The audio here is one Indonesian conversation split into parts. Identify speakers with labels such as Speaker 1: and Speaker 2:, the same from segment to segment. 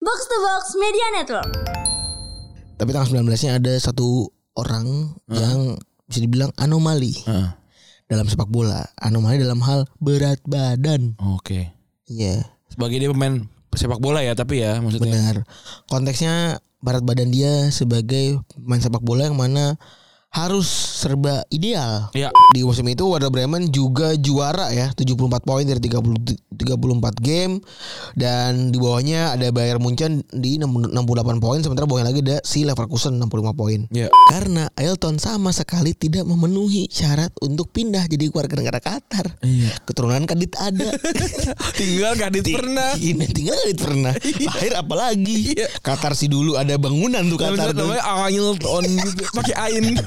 Speaker 1: Box to Box Media Network.
Speaker 2: Tapi tanggal 19-nya ada satu orang yang bisa dibilang anomali
Speaker 3: Heeh.
Speaker 2: dalam sepak bola. Anomali dalam hal berat badan.
Speaker 3: Oke.
Speaker 2: Iya,
Speaker 3: Sebagai dia pemain sepak bola ya tapi ya maksudnya.
Speaker 2: benar. Konteksnya berat badan dia sebagai pemain sepak bola yang mana harus serba ideal.
Speaker 3: Iya.
Speaker 2: Di musim itu Werder Bremen juga juara ya, 74 poin dari 30, 34 game dan di bawahnya ada Bayern Munchen di 68 poin sementara bawahnya lagi ada si Leverkusen 65 poin.
Speaker 3: Iya.
Speaker 2: Karena Elton sama sekali tidak memenuhi syarat untuk pindah jadi warga negara Qatar.
Speaker 3: Iya.
Speaker 2: Keturunan kadit ada.
Speaker 3: Tinggal Kadit
Speaker 2: Ti-
Speaker 3: pernah.
Speaker 2: Ini tinggal kadit pernah. Lahir apalagi.
Speaker 3: Iya.
Speaker 2: Qatar sih dulu ada bangunan tuh Qatar tuh.
Speaker 3: namanya Angel on gitu, pakai ain.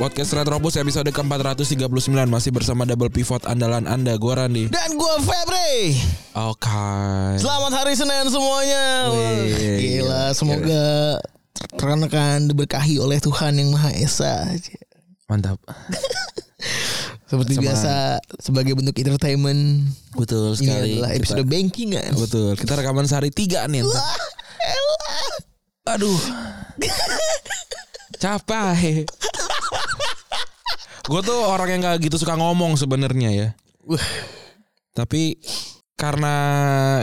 Speaker 3: Podcast Retropus episode ke-439 Masih bersama double pivot andalan anda Gue Randi
Speaker 2: Dan gua Febri.
Speaker 3: Oke
Speaker 2: Selamat hari Senin semuanya. Wah,
Speaker 3: Iya. Wih, iya.
Speaker 2: Gila, semoga rekan-rekan diberkahi oleh Tuhan yang Maha Esa.
Speaker 3: Mantap
Speaker 2: Seperti
Speaker 3: Sama-
Speaker 2: biasa sebagai bentuk entertainment
Speaker 3: Betul
Speaker 2: ini
Speaker 3: sekali
Speaker 2: Iya, adalah episode
Speaker 3: Kita-
Speaker 2: bankingan.
Speaker 3: Betul Kita rekaman sehari tiga nih
Speaker 2: Ah, elah.
Speaker 3: Aduh. Capek. Gue tuh orang yang gak gitu suka ngomong sebenarnya ya.
Speaker 2: Wah.
Speaker 3: Tapi karena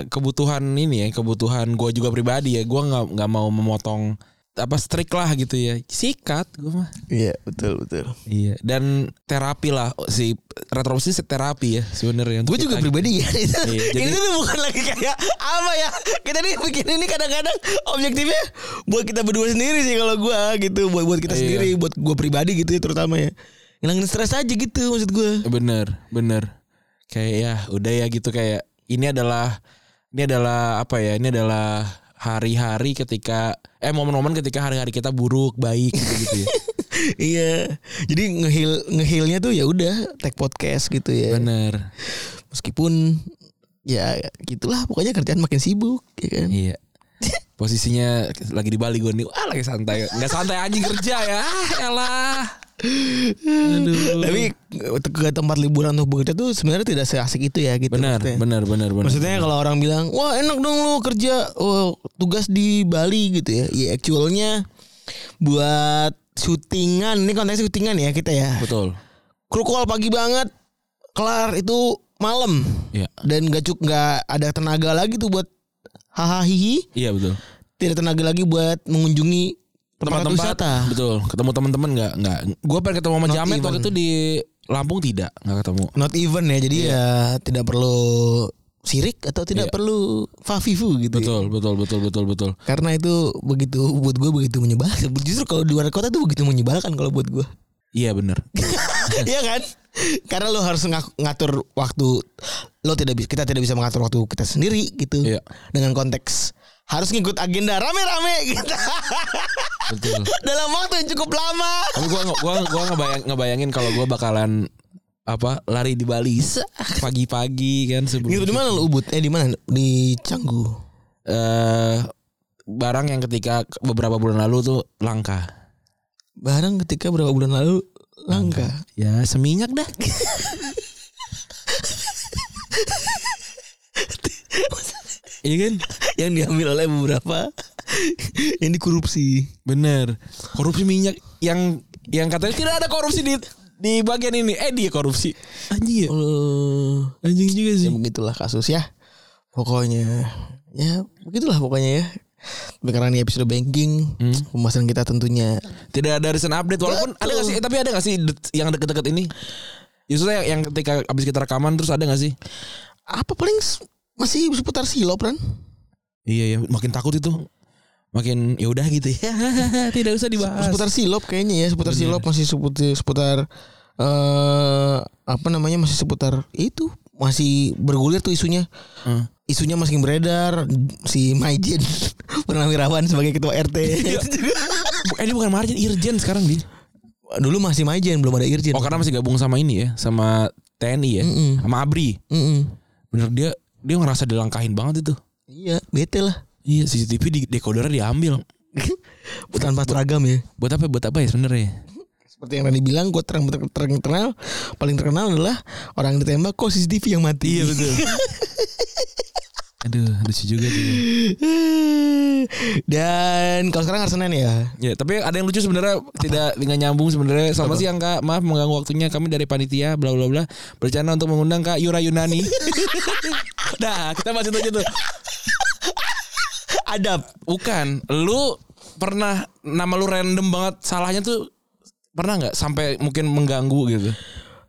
Speaker 3: kebutuhan ini ya, kebutuhan gue juga pribadi ya, gue nggak nggak mau memotong apa strik lah gitu ya. Sikat gue mah.
Speaker 2: Iya, betul betul.
Speaker 3: Iya. Dan terapi lah si retrosi terapi ya sebenarnya.
Speaker 2: Gue
Speaker 3: Untuk
Speaker 2: juga
Speaker 3: kita-
Speaker 2: pribadi ya. Itu,
Speaker 3: Iya, jadi-
Speaker 2: ini tuh bukan lagi kayak apa ya? Kita nih bikin ini kadang-kadang objektifnya buat kita berdua sendiri sih kalau gue gitu, buat buat kita
Speaker 3: Iya.
Speaker 2: sendiri, buat gue pribadi gitu ya terutama ya. Ngilangin stres aja gitu maksud gue.
Speaker 3: Bener, bener. Kayak ya udah ya gitu kayak ini adalah ini adalah apa ya? Ini adalah hari-hari ketika eh momen-momen ketika hari-hari kita buruk, baik gitu-gitu ya.
Speaker 2: iya. Jadi ngehil ngehilnya tuh ya udah tag podcast gitu ya.
Speaker 3: Bener.
Speaker 2: Meskipun ya gitulah pokoknya kerjaan makin sibuk ya kan.
Speaker 3: Iya. Posisinya lagi di Bali gue nih. Ah lagi santai. Nggak santai anjing kerja ya. Ah, elah. Aduh.
Speaker 2: Tapi ke tempat liburan untuk bekerja tuh sebenarnya tidak seasik itu ya gitu.
Speaker 3: Bener,
Speaker 2: maksudnya.
Speaker 3: bener, bener, bener.
Speaker 2: Maksudnya kalau orang bilang, wah enak dong lu kerja wah, tugas di Bali gitu ya. Ya actualnya buat syutingan, ini konteksnya syutingan ya kita ya.
Speaker 3: betul.
Speaker 2: Kru call pagi banget, kelar itu malam.
Speaker 3: Iya.
Speaker 2: Dan gak cuk nggak ada tenaga lagi tuh buat hahaha hihi.
Speaker 3: Iya betul.
Speaker 2: Tidak tenaga lagi buat mengunjungi tempat, wisata.
Speaker 3: betul. Ketemu teman-teman nggak nggak. Gue pengen ketemu sama
Speaker 2: Not
Speaker 3: Jamet
Speaker 2: even.
Speaker 3: waktu itu di Lampung tidak nggak ketemu.
Speaker 2: Not even ya, jadi ya tidak perlu sirik atau tidak
Speaker 3: Iya.
Speaker 2: perlu fafifu gitu. ya.
Speaker 3: Betul, betul, betul, betul, betul.
Speaker 2: Karena itu begitu buat gue begitu menyebalkan. Justru kalau di luar kota tuh begitu menyebalkan kalau buat gue.
Speaker 3: Iya bener
Speaker 2: Iya kan? Karena lo harus ngak- ngatur waktu lo tidak bisa kita tidak bisa mengatur waktu kita sendiri gitu.
Speaker 3: Iya.
Speaker 2: Dengan konteks harus ngikut agenda rame-rame gitu.
Speaker 3: Betul.
Speaker 2: dalam waktu yang cukup lama.
Speaker 3: Tapi gua gua gua ngebayang, ngebayangin kalau gua bakalan apa lari di Bali Sah, pagi-pagi kan
Speaker 2: Gitu
Speaker 3: sebelum
Speaker 2: di mana lo ubud? Eh di mana? Di Canggu.
Speaker 3: eh barang yang ketika beberapa bulan lalu tuh langka.
Speaker 2: Barang ketika berapa bulan lalu langka.
Speaker 3: Ya seminyak dah. Iya kan?
Speaker 2: yang diambil oleh beberapa yang dikorupsi.
Speaker 3: Bener. Korupsi minyak yang yang katanya tidak ada korupsi di di bagian ini. Eh dia korupsi. Anjing ya.
Speaker 2: Oh.
Speaker 3: Anjing juga
Speaker 2: ya
Speaker 3: sih.
Speaker 2: begitulah kasus ya pokoknya ya begitulah pokoknya ya Tapi karena ini episode banking pembahasan kita tentunya
Speaker 3: Tidak ada recent update walaupun
Speaker 2: Betul.
Speaker 3: ada gak sih Eh, tapi ada gak sih det- yang deket-deket ini? Justru yang, yang ketika abis kita rekaman terus ada gak sih?
Speaker 2: apa paling s- masih seputar silop kan
Speaker 3: Iya ya, makin takut itu. Makin ya udah gitu ya. Tidak usah dibahas.
Speaker 2: seputar silop kayaknya ya seputar silop masih seputar seputar eh apa namanya masih seputar itu masih bergulir tuh isunya
Speaker 3: Heeh.
Speaker 2: isunya masih beredar si Maijin purnawirawan sebagai ketua RT
Speaker 3: Eh dia bukan Marjen, Irjen sekarang dia.
Speaker 2: dulu masih Maijin belum ada Irjen
Speaker 3: Oh karena masih gabung sama ini ya, sama TNI ya,
Speaker 2: Mm-mm.
Speaker 3: sama Abri.
Speaker 2: Mm-mm.
Speaker 3: Bener dia dia ngerasa dilangkahin banget itu.
Speaker 2: iya bete lah
Speaker 3: Iya CCTV di dekodernya diambil.
Speaker 2: tanpa seragam ya
Speaker 3: Buat apa? Buat apa ya sebenarnya?
Speaker 2: Seperti yang tadi bilang, gue terang, terang, terang- terkenal paling terkenal adalah orang yang ditembak kok CCTV yang mati. Iya betul.
Speaker 3: Aduh, lucu juga sih.
Speaker 2: Dan kalau sekarang Arsenal ya.
Speaker 3: Ya, tapi ada yang lucu sebenarnya tidak dengan nyambung sebenarnya. Sama sih yang Kak, maaf mengganggu waktunya. Kami dari panitia bla bla bla berencana untuk mengundang Kak Yura Yunani. nah, kita bahas itu aja tuh.
Speaker 2: Adab.
Speaker 3: Bukan, lu pernah nama lu random banget salahnya tuh pernah nggak sampai mungkin mengganggu gitu.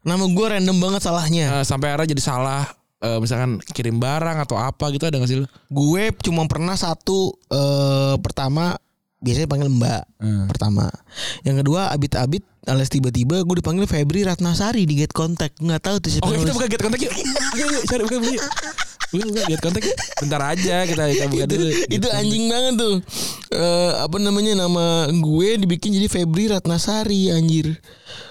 Speaker 2: Nama gue random banget salahnya.
Speaker 3: Eh, sampai akhirnya jadi salah eh, misalkan kirim barang atau apa gitu ada nggak sih lu?
Speaker 2: Gue cuma pernah satu eh, pertama biasanya panggil Mbak
Speaker 3: Hmm.
Speaker 2: pertama. Yang kedua abit-abit alias tiba-tiba gue dipanggil Febri Ratnasari di Get Contact. Nggak tahu tuh siapa.
Speaker 3: Oke Oh, kita
Speaker 2: nulis.
Speaker 3: buka get kontak yuk. Oke yuk cari buka buka. yuk. Buka buka get kontak. yuk. Bentar aja kita kita buka
Speaker 2: itu,
Speaker 3: dulu.
Speaker 2: itu anjing banget tuh. Eh, apa namanya nama gue dibikin jadi Febri Ratnasari anjir.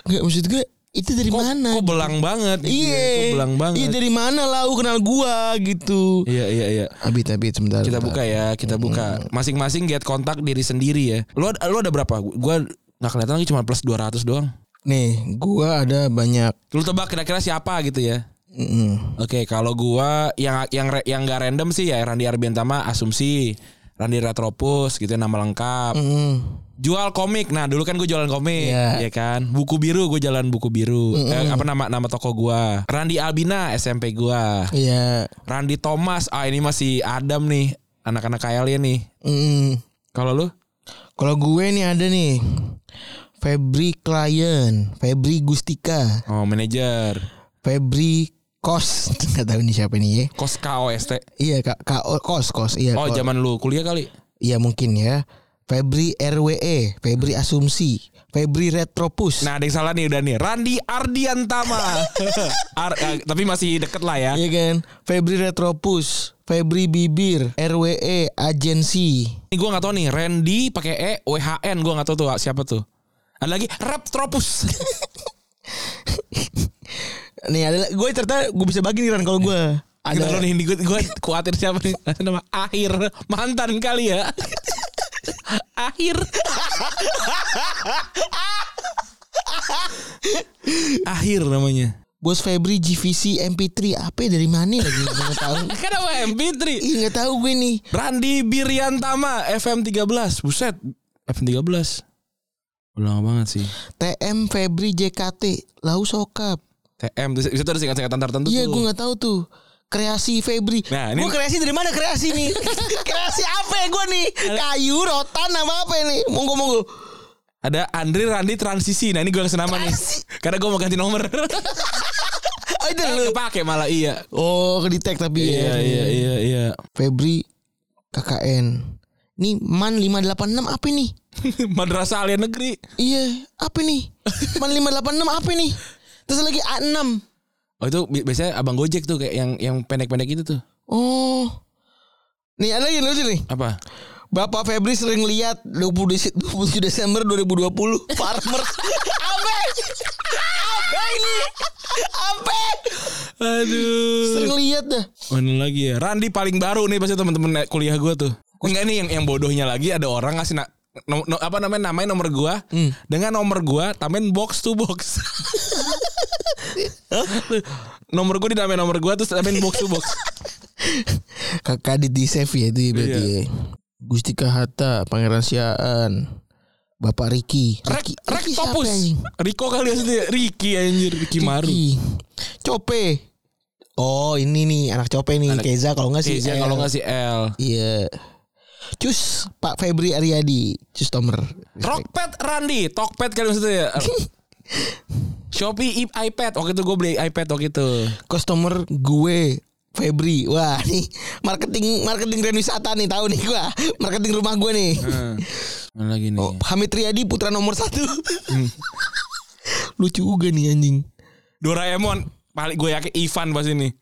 Speaker 2: Nggak maksud gue itu dari
Speaker 3: Kok,
Speaker 2: mana?
Speaker 3: kok belang banget. gitu ya?
Speaker 2: Iya.
Speaker 3: Kok belang banget.
Speaker 2: Iya dari mana lau kenal gua gitu.
Speaker 3: Iya iya iya.
Speaker 2: Abit abit sebentar.
Speaker 3: Kita buka ya, kita buka. Masing-masing get kontak diri sendiri ya. Lu ad- lu ada berapa? Gua nggak kelihatan lagi cuma plus 200 doang.
Speaker 2: Nih, gua ada banyak.
Speaker 3: Lu tebak kira-kira siapa gitu ya.
Speaker 2: Mm-mm.
Speaker 3: Oke, kalau gua yang yang re- yang gak random sih ya Randy Arbiantama asumsi, Randy Retropus gitu ya, nama lengkap.
Speaker 2: Mm-mm.
Speaker 3: jual komik. Nah, dulu kan gue jualan komik,
Speaker 2: Iya.
Speaker 3: ya kan. Buku biru gue jalan buku biru. Eh, apa nama nama toko gua? Randi Albina SMP gua.
Speaker 2: Iya.
Speaker 3: Randi Thomas. Ah, ini masih Adam nih, anak-anak KL nih.
Speaker 2: Mm-mm.
Speaker 3: Kalau lu?
Speaker 2: Kalau gue nih ada nih. Febri Klien, Febri Gustika,
Speaker 3: Oh, manajer.
Speaker 2: Febri Kos. Enggak tahu nih siapa nih ya.
Speaker 3: Kos KOST.
Speaker 2: Iya, Kak, Kak O- Kos, Kos. Iya,
Speaker 3: Oh,
Speaker 2: Kos.
Speaker 3: zaman lu kuliah kali.
Speaker 2: Iya mungkin ya. Febri RWE, Febri Asumsi, Febri Retropus.
Speaker 3: Nah, ada yang salah nih udah nih. Randi Ardiantama. Ar- eh, tapi masih deket lah ya.
Speaker 2: Iya kan? Febri Retropus, Febri Bibir, RWE Agensi.
Speaker 3: Ini gue gak tau nih Randy pakai E WHN gue gak tau tuh siapa tuh ada lagi Raptropus
Speaker 2: Nih ada gue ternyata gue bisa bagi nih Ran kalau gue. Ada
Speaker 3: Ada nih gue gue khawatir siapa nih nama akhir mantan kali ya. akhir. akhir namanya.
Speaker 2: Bos Febri GVC MP3 apa ya, dari mana lagi nggak tahu.
Speaker 3: Kenapa MP3?
Speaker 2: Ih nggak tahu gue nih.
Speaker 3: Randi Biriantama FM 13. Buset, FM 13. Udah lama banget sih.
Speaker 2: TM Febri JKT Lau Sokap.
Speaker 3: TM bisa bisa tuh ada singkatan-singkatan tertentu.
Speaker 2: Iya
Speaker 3: tuh.
Speaker 2: gue nggak tahu tuh. Kreasi Febri.
Speaker 3: Nah, ini-
Speaker 2: gue kreasi dari mana kreasi nih? kreasi apa ya gue nih? Kayu, rotan apa apa ini? Monggo monggo.
Speaker 3: Ada Andri Randi transisi. Nah, ini gue kasih nama nih. Karena gue mau ganti nomor.
Speaker 2: Oh itu lu.
Speaker 3: Eh, Kepake malah iya.
Speaker 2: Oh kedetek tapi
Speaker 3: Iya
Speaker 2: ya.
Speaker 3: iya iya iya.
Speaker 2: Febri KKN. Ini man 586 apa nih?
Speaker 3: Madrasah Alien Negeri.
Speaker 2: Iya, apa nih? Man 586 apa nih? Terus lagi A6.
Speaker 3: Oh itu bi- biasanya abang Gojek tuh kayak yang yang pendek-pendek itu tuh.
Speaker 2: Oh. Nih ada lagi yang lucu nih.
Speaker 3: Apa?
Speaker 2: Bapak Febri sering lihat 20 Desi- 27 Desember 2020 Farmer. apa? Apa ini? Apa?
Speaker 3: Aduh.
Speaker 2: Sering lihat dah.
Speaker 3: Mana lagi ya? Randi paling baru nih pasti teman-teman kuliah gua tuh. Enggak nih yang yang bodohnya lagi ada orang ngasih na- no- no- apa namanya namanya nomor gua dengan nomor gua tambahin box to box. nomor gua dinamain nomor gua terus tambahin box to box.
Speaker 2: Kakak di save ya itu ya berarti.
Speaker 3: Iya.
Speaker 2: ya. Gustika Hatta, Pangeran Siaan, Bapak Riki.
Speaker 3: Rek
Speaker 2: Riki siapa
Speaker 3: Rektopus.
Speaker 2: anjing?
Speaker 3: Riko kali aslinya Riki anjir Riki Maru.
Speaker 2: Riki. Cope. Oh ini nih anak Cope nih Keza kalau nggak sih.
Speaker 3: Iya
Speaker 2: L.
Speaker 3: kalau nggak si L.
Speaker 2: Iya. Cus Pak Febri Ariadi, Cus Tomer.
Speaker 3: Rockpad Randy, Tokpad kali maksudnya ya. Shopee i- iPad. Waktu itu gue beli iPad waktu itu.
Speaker 2: Customer gue Febri. Wah, nih marketing marketing brand wisata nih tahu nih gua. Marketing rumah gue nih.
Speaker 3: Hmm. Mana lagi nih?
Speaker 2: Oh, Hamid Riyadi putra nomor satu
Speaker 3: Hmm.
Speaker 2: Lucu juga nih anjing.
Speaker 3: Doraemon. Paling gue yakin Ivan pas ini.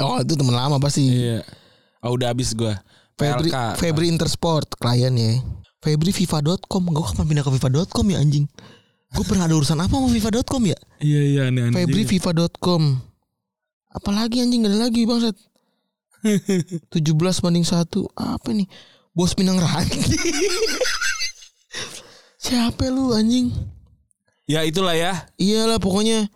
Speaker 2: Oh, itu teman lama pasti.
Speaker 3: Iya. Oh udah habis gue.
Speaker 2: Febri
Speaker 3: PLK.
Speaker 2: Febri Intersport klien ya. Febri FIFA.com. Gue kapan pindah ke FIFA.com ya anjing? Gue pernah ada urusan apa sama FIFA.com ya?
Speaker 3: Iya iya aneh aneh.
Speaker 2: Febri FIFA.com. Apalagi anjing gak ada lagi bangsat. 17 banding 1. Apa nih? Bos Minang Ranti. Siapa lu anjing?
Speaker 3: Ya itulah ya.
Speaker 2: Iyalah pokoknya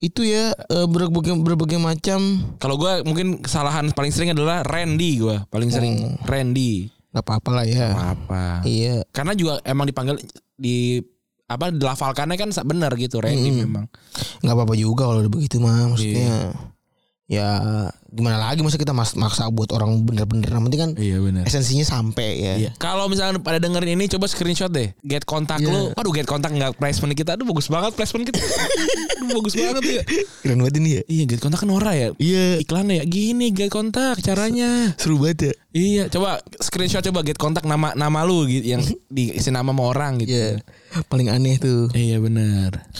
Speaker 2: itu ya eh, berbagai berbagai macam
Speaker 3: Kalau gue mungkin kesalahan paling sering adalah Randy gue paling sering Randy
Speaker 2: nggak apa-apa lah ya.
Speaker 3: Oh. apa
Speaker 2: Iya.
Speaker 3: karena juga emang dipanggil di apa dilafalkannya kan sa- benar gitu Randy memang
Speaker 2: nggak apa-apa juga kalau udah begitu mah maksudnya ya gimana lagi masa kita mas- maksa buat orang bener-bener yang penting kan
Speaker 3: iya benar
Speaker 2: esensinya sampai ya
Speaker 3: Iya. Kalau misalkan pada dengerin ini coba screenshot deh. Get kontak lu. Aduh get kontak enggak placement kita. Aduh bagus banget placement kita. Aduh bagus banget ya.
Speaker 2: keren banget ini ya
Speaker 3: Iya get kontak kan ora ya.
Speaker 2: iya
Speaker 3: Iklannya ya gini get kontak caranya.
Speaker 2: seru banget ya
Speaker 3: Iya, coba screenshot coba get kontak nama nama lu gitu yang diisi nama sama orang gitu.
Speaker 2: iya paling aneh tuh
Speaker 3: Iya benar.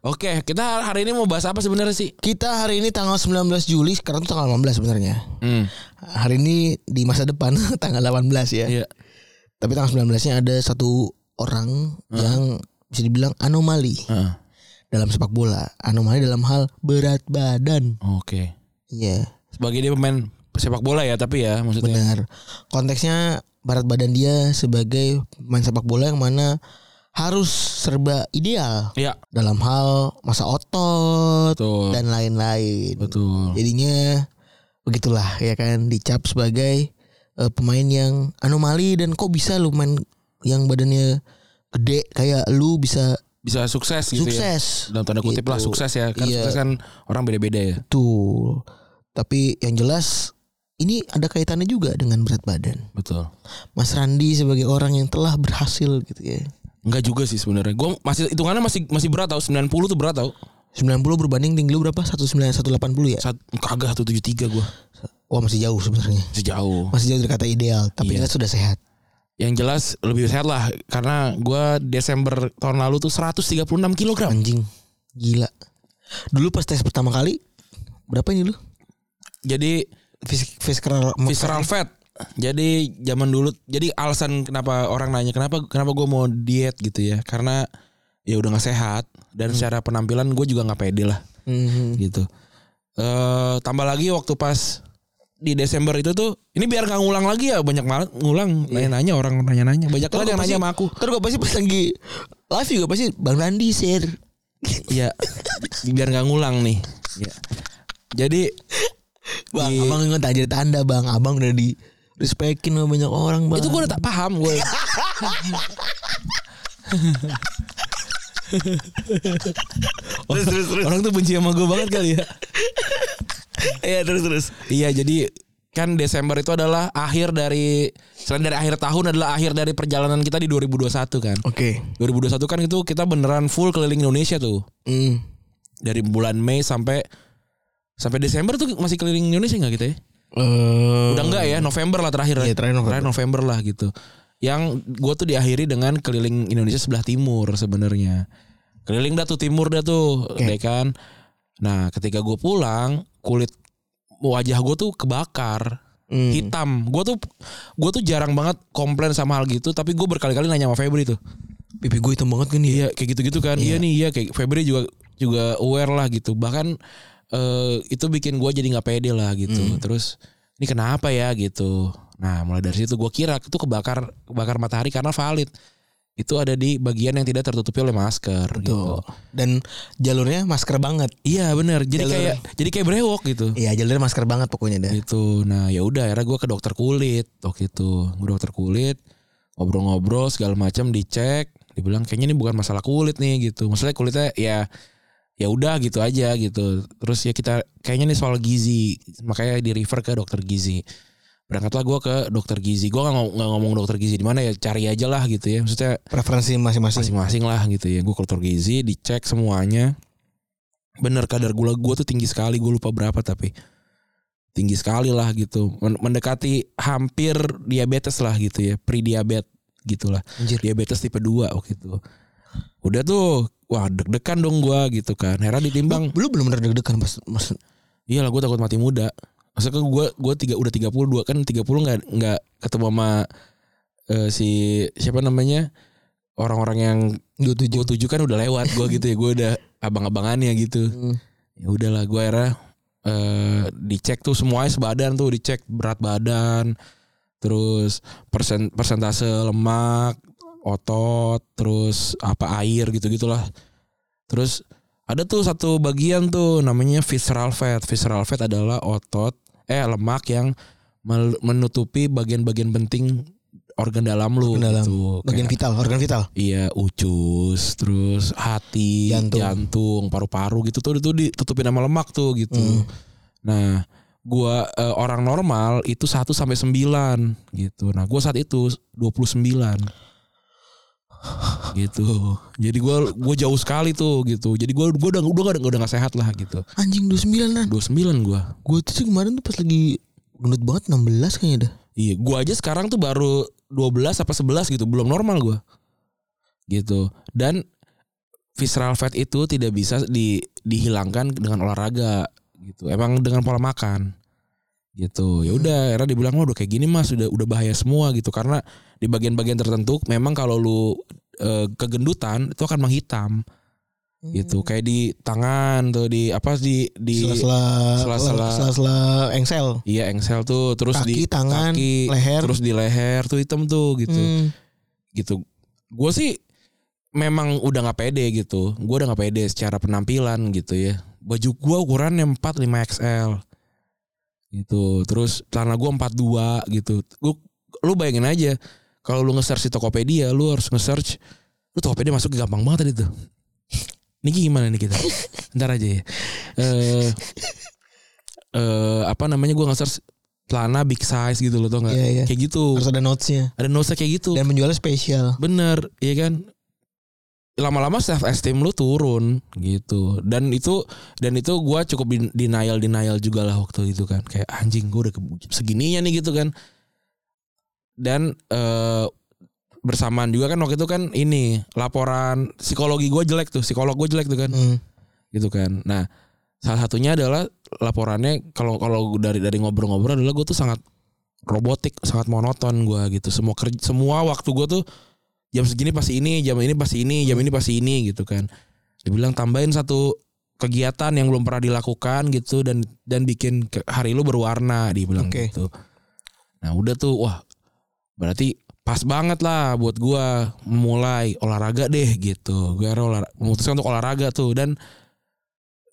Speaker 3: Oke, kita hari ini mau bahas apa sebenarnya sih?
Speaker 2: kita hari ini tanggal 19 Juli sekarang tuh tanggal 18 sebenarnya
Speaker 3: Hmm.
Speaker 2: hari ini di masa depan tanggal 18 ya
Speaker 3: Iya.
Speaker 2: tapi tanggal 19 nya ada satu orang yang bisa dibilang anomali
Speaker 3: Heeh.
Speaker 2: dalam sepak bola anomali dalam hal berat badan
Speaker 3: Oke.
Speaker 2: iya
Speaker 3: Sebagai dia pemain sepak bola ya, tapi ya maksudnya.
Speaker 2: Benar. Konteksnya berat badan dia sebagai pemain sepak bola yang mana harus serba ideal
Speaker 3: Iya.
Speaker 2: dalam hal masa otot
Speaker 3: Betul.
Speaker 2: dan lain-lain.
Speaker 3: Betul.
Speaker 2: Jadinya begitulah ya kan dicap sebagai eh, pemain yang anomali dan kok bisa lu main yang badannya gede kayak lu bisa
Speaker 3: Bisa sukses gitu ya.
Speaker 2: sukses.
Speaker 3: dalam tanda kutip
Speaker 2: Gitu.
Speaker 3: lah sukses ya kan
Speaker 2: Iya.
Speaker 3: sukses kan orang beda-beda ya
Speaker 2: Betul. Tapi yang jelas ini ada kaitannya juga dengan berat badan.
Speaker 3: betul
Speaker 2: Mas Randi sebagai orang yang telah berhasil gitu ya.
Speaker 3: Enggak juga sih sebenarnya gue masih hitungannya masih masih berat tau 90 tuh berat tau
Speaker 2: 90 berbanding tinggi lu berapa? 190 180 ya?
Speaker 3: Saat, kagak 173 gue
Speaker 2: Wah masih jauh sebenarnya.
Speaker 3: sejauh
Speaker 2: Masih jauh dari kata ideal, tapi
Speaker 3: Iya.
Speaker 2: jelas sudah sehat.
Speaker 3: yang jelas lebih sehat lah karena gue Desember tahun lalu tuh 136 kilogram
Speaker 2: Anjing. Gila. Dulu pas tes pertama kali berapa ini lu?
Speaker 3: jadi
Speaker 2: Fis- Visceral
Speaker 3: visceral fat jadi zaman dulu jadi alasan kenapa orang nanya kenapa kenapa gue mau diet gitu ya karena ya udah nggak sehat
Speaker 2: Hmm.
Speaker 3: dan secara penampilan gue juga nggak pede lah
Speaker 2: Mhm.
Speaker 3: gitu. eh tambah lagi waktu pas di Desember itu tuh ini biar nggak ngulang lagi ya banyak banget ngulang nanya-nanya orang nanya-nanya banyak
Speaker 2: Terus
Speaker 3: banget yang nanya
Speaker 2: pasti-
Speaker 3: sama aku
Speaker 2: Terus gue pasti pas lagi live juga pasti Bang Randi share.
Speaker 3: ya biar nggak ngulang nih ya. jadi
Speaker 2: Bang,
Speaker 3: Iya.
Speaker 2: abang ingat aja tanda bang, abang udah di respekin sama banyak orang bang.
Speaker 3: itu gue udah tak paham gue orang, orang tuh benci sama gue banget kali ya
Speaker 2: ya terus terus.
Speaker 3: Iya jadi kan Desember itu adalah akhir dari selain dari akhir tahun adalah akhir dari perjalanan kita di 2021 kan.
Speaker 2: Oke.
Speaker 3: 2021 kan itu kita beneran full keliling Indonesia tuh.
Speaker 2: Hmm.
Speaker 3: Dari bulan Mei sampai sampai Desember tuh masih keliling Indonesia nggak kita ya?
Speaker 2: Eh,
Speaker 3: Udah enggak ya, November lah terakhir.
Speaker 2: Iya, terakhir November.
Speaker 3: November lah gitu. Yang gue tuh diakhiri dengan keliling Indonesia sebelah timur sebenarnya. Keliling dah tuh timur dah tuh, ya kan. Nah, ketika gue pulang, kulit wajah gue tuh kebakar.
Speaker 2: Hmm.
Speaker 3: Hitam. Gue tuh gue tuh jarang banget komplain sama hal gitu, tapi gue berkali-kali nanya sama Febri tuh.
Speaker 2: pipi gue hitam banget kan ya.
Speaker 3: Iya kayak gitu-gitu kan. Iya nih iya kayak Febri juga juga aware lah gitu. Bahkan eh, itu bikin gua jadi nggak pede lah gitu. Terus ini kenapa ya gitu. Nah mulai dari situ gua kira itu kebakar kebakar matahari karena valid itu ada di bagian yang tidak tertutupi oleh masker gitu.
Speaker 2: Tuh. Dan jalurnya masker banget.
Speaker 3: Iya benar. Jadi
Speaker 2: Jalur.
Speaker 3: kayak jadi kayak brewok gitu.
Speaker 2: Iya, jalurnya masker banget pokoknya dah.
Speaker 3: Gitu. Nah, ya udah akhirnya gue ke dokter kulit waktu itu. Gue dokter kulit ngobrol-ngobrol segala macam dicek, dibilang kayaknya ini bukan masalah kulit nih gitu. Maksudnya kulitnya ya ya udah gitu aja gitu. Terus ya kita kayaknya nih soal gizi, makanya di refer ke dokter gizi. Berangkatlah gue ke dokter gizi. Gue nggak ngom- nggak ngomong dokter gizi di mana ya cari aja lah gitu ya. Maksudnya
Speaker 2: Preferensi masing-masing.
Speaker 3: masing-masing lah gitu ya gue kultur gizi dicek semuanya bener kadar gula gue tuh tinggi sekali gue lupa berapa tapi tinggi sekali lah gitu Men- mendekati hampir diabetes lah gitu ya pre diabetes gitulah
Speaker 2: Anjir.
Speaker 3: diabetes tipe 2 waktu itu udah tuh wah deg-degan dong gua gitu kan heran ditimbang
Speaker 2: Lu belum bener deg-degan pas mas
Speaker 3: iyalah gue Iya takut mati muda maksudnya gue gue tiga udah 32 kan 30 nggak nggak ketemu sama eh, si siapa namanya orang-orang yang
Speaker 2: dua tujuh.
Speaker 3: gue tujuh kan udah lewat gue gitu ya gue udah abang-abangannya gitu ya udahlah gue akhirnya eh, dicek tuh semuanya sebadan tuh dicek berat badan terus persen persentase lemak otot, terus apa air gitu-gitulah. Terus ada tuh satu bagian tuh namanya visceral fat. Visceral fat adalah otot eh lemak yang mel- menutupi bagian-bagian penting organ dalam lu
Speaker 2: Organ dalam.
Speaker 3: gitu.
Speaker 2: Bagian
Speaker 3: Kayak-
Speaker 2: vital, organ vital.
Speaker 3: Iya ucus Terus hati
Speaker 2: Jantung.
Speaker 3: Jantung, Paru-paru gitu tuh Itu ditutupin sama lemak tuh gitu Nah gua eh, orang normal itu 1 sampai 9 gitu. Nah, gua saat itu 29. gitu. Jadi gua gua jauh sekali tuh gitu. Jadi gua gua udah udah gak, udah gak sehat lah gitu.
Speaker 2: Anjing 29 kan.
Speaker 3: 29 gua.
Speaker 2: Gue tuh sih kemarin tuh pas lagi gendut banget 16 kayaknya dah.
Speaker 3: Iya, gua aja sekarang tuh baru 12 apa 11 gitu, belum normal gua. Gitu. Dan visceral fat itu tidak bisa di, dihilangkan dengan olahraga gitu. Emang dengan pola makan. Gitu.
Speaker 2: Hmm.
Speaker 3: Ya udah, era dibilang "Wah, udah kayak gini Mas, udah udah bahaya semua gitu karena di bagian-bagian tertentu memang kalau lu eh, kegendutan itu akan menghitam gitu. Kayak di tangan tuh di apa di di
Speaker 2: Hmm. Sela-sela oh,
Speaker 3: sela-sela-
Speaker 2: sela-sela engsel.
Speaker 3: Iya engsel tuh terus
Speaker 2: Kaki,
Speaker 3: di
Speaker 2: tangan,
Speaker 3: kaki,
Speaker 2: leher.
Speaker 3: terus di leher tuh hitam tuh gitu
Speaker 2: Hmm.
Speaker 3: gitu. Gue sih memang udah nggak pede gitu. Gue udah nggak pede secara penampilan gitu ya. Baju gue ukurannya 45 XL gitu. Terus celana gue 42 gitu. Lu, lu bayangin aja kalau lu nge-search di Tokopedia, lu harus nge-search lu Tokopedia masuk gampang banget tadi tuh. Niki gimana nih kita? Ntar aja ya. Eh eh, apa namanya gue nge-search celana big size gitu loh tau nggak?
Speaker 2: Iya, iya.
Speaker 3: Kayak gitu.
Speaker 2: Harus ada notesnya
Speaker 3: Ada nosa kayak gitu.
Speaker 2: dan menjualnya spesial.
Speaker 3: Bener, iya kan? Lama-lama self esteem lu turun gitu. Dan itu dan itu gua cukup din- denial denial juga lah waktu itu kan. Kayak anjing gua udah ke- segininya nih gitu kan. Dan eh bersamaan juga kan waktu itu kan ini laporan psikologi gua jelek tuh, psikolog gua jelek tuh kan
Speaker 2: Hmm.
Speaker 3: gitu kan. Nah, salah satunya adalah laporannya kalau kalau dari dari ngobrol-ngobrol adalah gue tuh sangat robotik, sangat monoton gua gitu. Semua kerja, semua waktu gue tuh jam segini pasti ini, jam ini pasti ini, jam ini pasti ini gitu kan. Dibilang tambahin satu kegiatan yang belum pernah dilakukan gitu dan dan bikin ke- hari lu berwarna dibilang
Speaker 2: Oke.
Speaker 3: gitu. Nah, udah tuh wah berarti pas banget lah buat gua mulai olahraga deh gitu. Gue memutuskan untuk olahraga tuh dan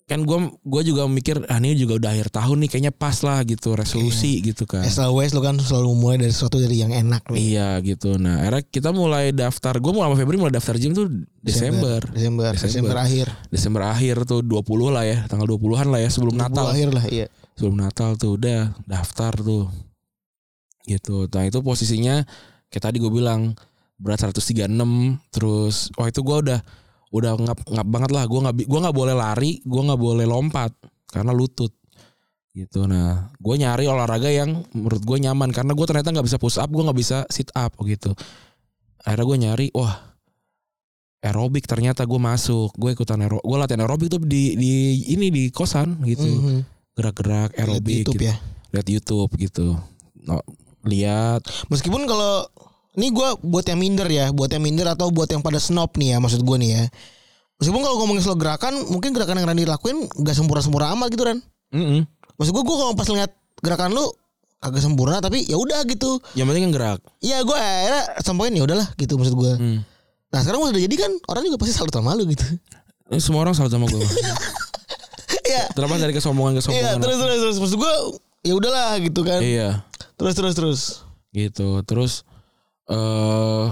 Speaker 3: kan gue gua juga mikir ah ini juga udah akhir tahun nih kayaknya pas lah gitu resolusi gitu kan
Speaker 2: As always lu kan selalu mulai dari sesuatu dari yang enak nih.
Speaker 3: iya gitu nah akhirnya kita mulai daftar gue mulai sama Febri mulai daftar gym tuh Desember
Speaker 2: Desember, Desember,
Speaker 3: Desember.
Speaker 2: akhir.
Speaker 3: Desember akhir tuh 20 lah ya tanggal 20-an lah ya sebelum
Speaker 2: Natal
Speaker 3: Natal
Speaker 2: akhir lah, iya.
Speaker 3: sebelum Natal tuh udah daftar tuh gitu nah itu posisinya kayak tadi gue bilang berat 136 terus wah itu gua udah udah ngap ngap banget lah gue nggak bi- gua nggak boleh lari gua nggak boleh lompat karena lutut gitu nah gue nyari olahraga yang menurut gue nyaman karena gue ternyata nggak bisa push up gue nggak bisa sit up gitu akhirnya gue nyari wah aerobik ternyata gue masuk gue ikutan aero gue latihan aerobik tuh di di ini di kosan gitu
Speaker 2: Mhm.
Speaker 3: gerak-gerak
Speaker 2: Lihat di
Speaker 3: aerobik
Speaker 2: YouTube
Speaker 3: gitu.
Speaker 2: ya.
Speaker 3: lihat YouTube gitu No, lihat
Speaker 2: Meskipun kalau ini gua buat yang minder ya, buat yang minder atau buat yang pada snob nih ya, maksud gua nih ya. Meskipun kalau ngomongin soal gerakan, mungkin gerakan yang Randy lakuin gak sempurna-sempurna amat gitu Ran.
Speaker 3: Mm-mm.
Speaker 2: Maksud gua gua kalau pas ngeliat gerakan lu kagak sempurna tapi ya udah gitu.
Speaker 3: yang penting kan gerak
Speaker 2: Ya gua akhirnya sampein ya udahlah gitu maksud gua.
Speaker 3: Hmm.
Speaker 2: Nah sekarang udah jadi kan orang juga pasti salut sama lu gitu.
Speaker 3: Eh, semua orang salut sama gue
Speaker 2: Iya.
Speaker 3: terlepas dari
Speaker 2: Iya
Speaker 3: kesombongan kesombongan
Speaker 2: terus terus terus maksud gua ya udahlah gitu kan.
Speaker 3: iya
Speaker 2: Terus terus terus.
Speaker 3: gitu terus eh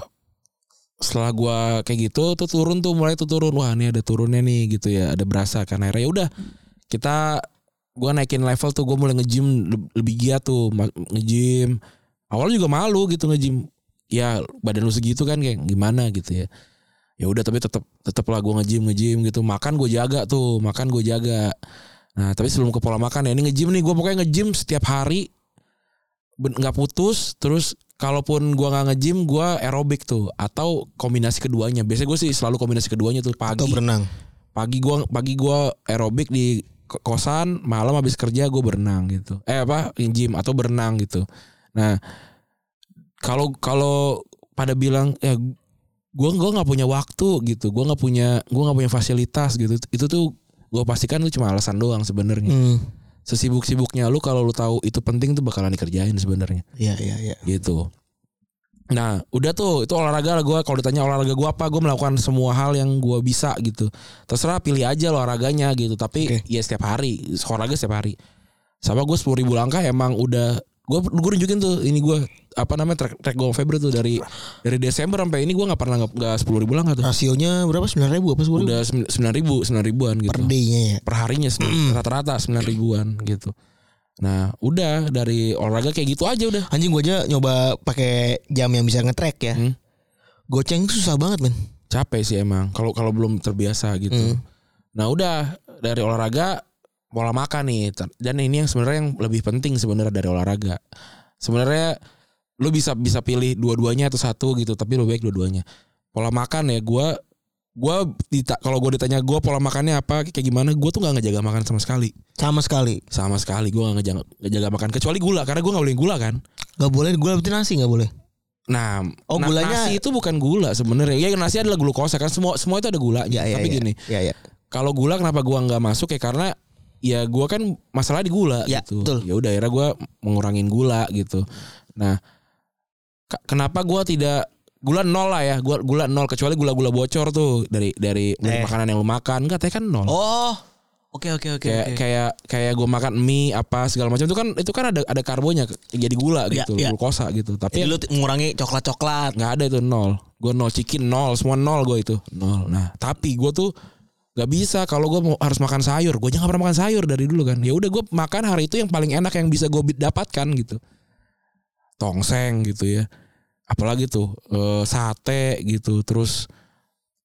Speaker 3: setelah gua kayak gitu tuh turun tuh mulai tuh turun wah ini ada turunnya nih gitu ya ada berasa kan akhirnya ya udah kita gua naikin level tuh gua mulai nge-gym le- lebih giat tuh ma- nge-gym awalnya juga malu gitu nge-gym ya badan lu segitu kan kayak gimana gitu ya ya udah tapi tetap tetap lah gua nge-gym nge-gym gitu makan gue jaga tuh makan gue jaga nah tapi sebelum ke pola makan ya ini nge-gym nih gua pokoknya nge-gym setiap hari ben- nggak putus terus kalaupun gua nggak nge-gym gua aerobik tuh atau kombinasi keduanya biasanya gue sih selalu kombinasi keduanya tuh pagi
Speaker 2: Atau berenang.
Speaker 3: pagi gua pagi gua aerobik di ko- kosan malam habis kerja gue berenang gitu eh apa gym atau berenang gitu nah kalau kalau pada bilang ya gua gua nggak punya waktu gitu gua nggak punya gua nggak punya fasilitas gitu itu tuh gue pastikan lu cuma alasan doang sebenarnya
Speaker 2: Hmm.
Speaker 3: sesibuk-sibuknya lu kalau lu tahu itu penting tuh bakalan dikerjain sebenarnya
Speaker 2: Iya iya iya.
Speaker 3: gitu Nah, udah tuh itu olahraga lah gue. Kalau ditanya olahraga gue apa, gue melakukan semua hal yang gue bisa gitu. Terserah pilih aja olahraganya gitu. Tapi
Speaker 2: Oke.
Speaker 3: ya setiap hari, olahraga setiap hari. Sama gue sepuluh ribu langkah emang udah gue gue nunjukin tuh ini gue apa namanya track track gue Februari tuh dari dari Desember sampai ini gue nggak pernah nggak- nggak sepuluh ribu langkah
Speaker 2: Ah,
Speaker 3: tuh.
Speaker 2: Rasionya berapa? 9 ribu apa 10 ribu?
Speaker 3: Udah sembilan ribu sembilan ribuan gitu
Speaker 2: Per day-nya ya.
Speaker 3: perharinya rata-rata sembilan ribuan gitu. Nah, udah dari olahraga kayak gitu aja udah.
Speaker 2: Anjing gue aja nyoba pakai jam yang bisa nge-track ya.
Speaker 3: Hmm.
Speaker 2: Goceng tuh susah banget, men.
Speaker 3: capek sih emang kalau kalau belum terbiasa gitu.
Speaker 2: Hmm.
Speaker 3: Nah udah dari olahraga pola makan nih Ter- dan ini yang sebenarnya yang lebih penting sebenarnya dari olahraga. Sebenarnya lu bisa bisa pilih dua-duanya atau satu gitu tapi lebih baik dua-duanya. Pola makan ya gua gua dita- kalau gua ditanya gua pola makannya apa kayak gimana gua tuh nggak ngejaga makan sama sekali.
Speaker 2: Sama sekali.
Speaker 3: Sama sekali gua nggak ngejaga, ngejaga makan kecuali gula karena gua nggak boleh gula kan.
Speaker 2: Gak boleh gula berarti nasi gak boleh.
Speaker 3: Nah,
Speaker 2: Oh,
Speaker 3: na-
Speaker 2: gulanya-
Speaker 3: nasi itu bukan gula sebenarnya. Ya nasi adalah glukosa kan semua semua itu ada gulanya. tapi gini,
Speaker 2: Ya ya.
Speaker 3: kalau gula kenapa gua nggak masuk ya karena ya gua kan masalah di gula
Speaker 2: Ya,
Speaker 3: gitu.
Speaker 2: betul.
Speaker 3: Ya udah akhirnya gua mengurangin gula gitu. Nah, ka- kenapa gua tidak gula nol lah ya, gua gula nol kecuali gula-gula bocor tuh dari dari dari
Speaker 2: Eh.
Speaker 3: makanan yang lu makan katanya kan nol.
Speaker 2: Oh. Oke oke oke.
Speaker 3: kayak
Speaker 2: oke.
Speaker 3: kayak kayak gua makan mie apa segala macam itu kan itu kan ada ada karbonya jadi gula
Speaker 2: Ya,
Speaker 3: gitu,
Speaker 2: ya.
Speaker 3: glukosa gitu. Tapi
Speaker 2: Jadi lu t- ngurangi coklat-coklat.
Speaker 3: nggak ada itu nol gue nol chicken nol semua nol gue itu nol nah tapi gue tuh nggak bisa kalau gue mau harus makan sayur gue aja nggak pernah makan sayur dari dulu kan ya udah gue makan hari itu yang paling enak yang bisa gue dapatkan gitu tongseng gitu ya apalagi tuh eh, sate gitu terus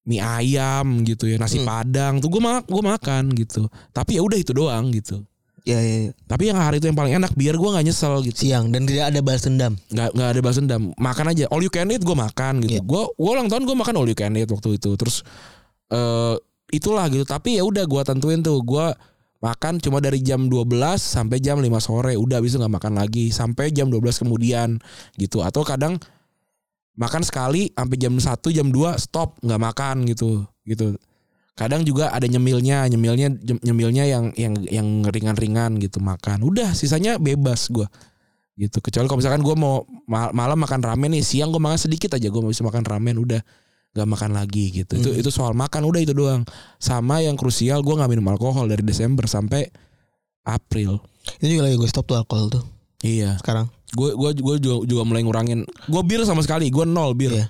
Speaker 3: mie ayam gitu ya nasi
Speaker 2: Hmm.
Speaker 3: padang tuh gue mak gue makan gitu tapi ya udah itu doang gitu
Speaker 2: Ya, ya, ya.
Speaker 3: tapi yang hari itu yang paling enak biar gue nggak nyesel gitu
Speaker 2: Siang dan tidak ada balas dendam.
Speaker 3: nggak nggak ada balas dendam makan aja all you can eat gue makan
Speaker 2: Iya.
Speaker 3: gitu gue gue ulang tahun gue makan all you can eat waktu itu terus eh itulah gitu tapi ya udah gue tentuin tuh gue makan cuma dari jam 12 sampai jam 5 sore udah habis itu nggak makan lagi sampai jam 12 kemudian gitu atau kadang makan sekali sampai jam 1 jam 2 stop nggak makan gitu gitu kadang juga ada nyemilnya nyemilnya nyemilnya yang yang yang ringan-ringan gitu makan udah sisanya bebas gua gitu kecuali kalau misalkan gue mau ma- malam makan ramen nih siang gue makan sedikit aja gue bisa makan ramen udah gak makan lagi gitu itu itu soal makan udah itu doang sama yang krusial gue nggak minum alkohol dari Desember sampai April
Speaker 2: Itu juga lagi gue stop tuh alkohol tuh
Speaker 3: iya
Speaker 2: sekarang.
Speaker 3: gue gue gue juga, juga mulai ngurangin gue bir sama sekali gue nol bir
Speaker 2: Iya.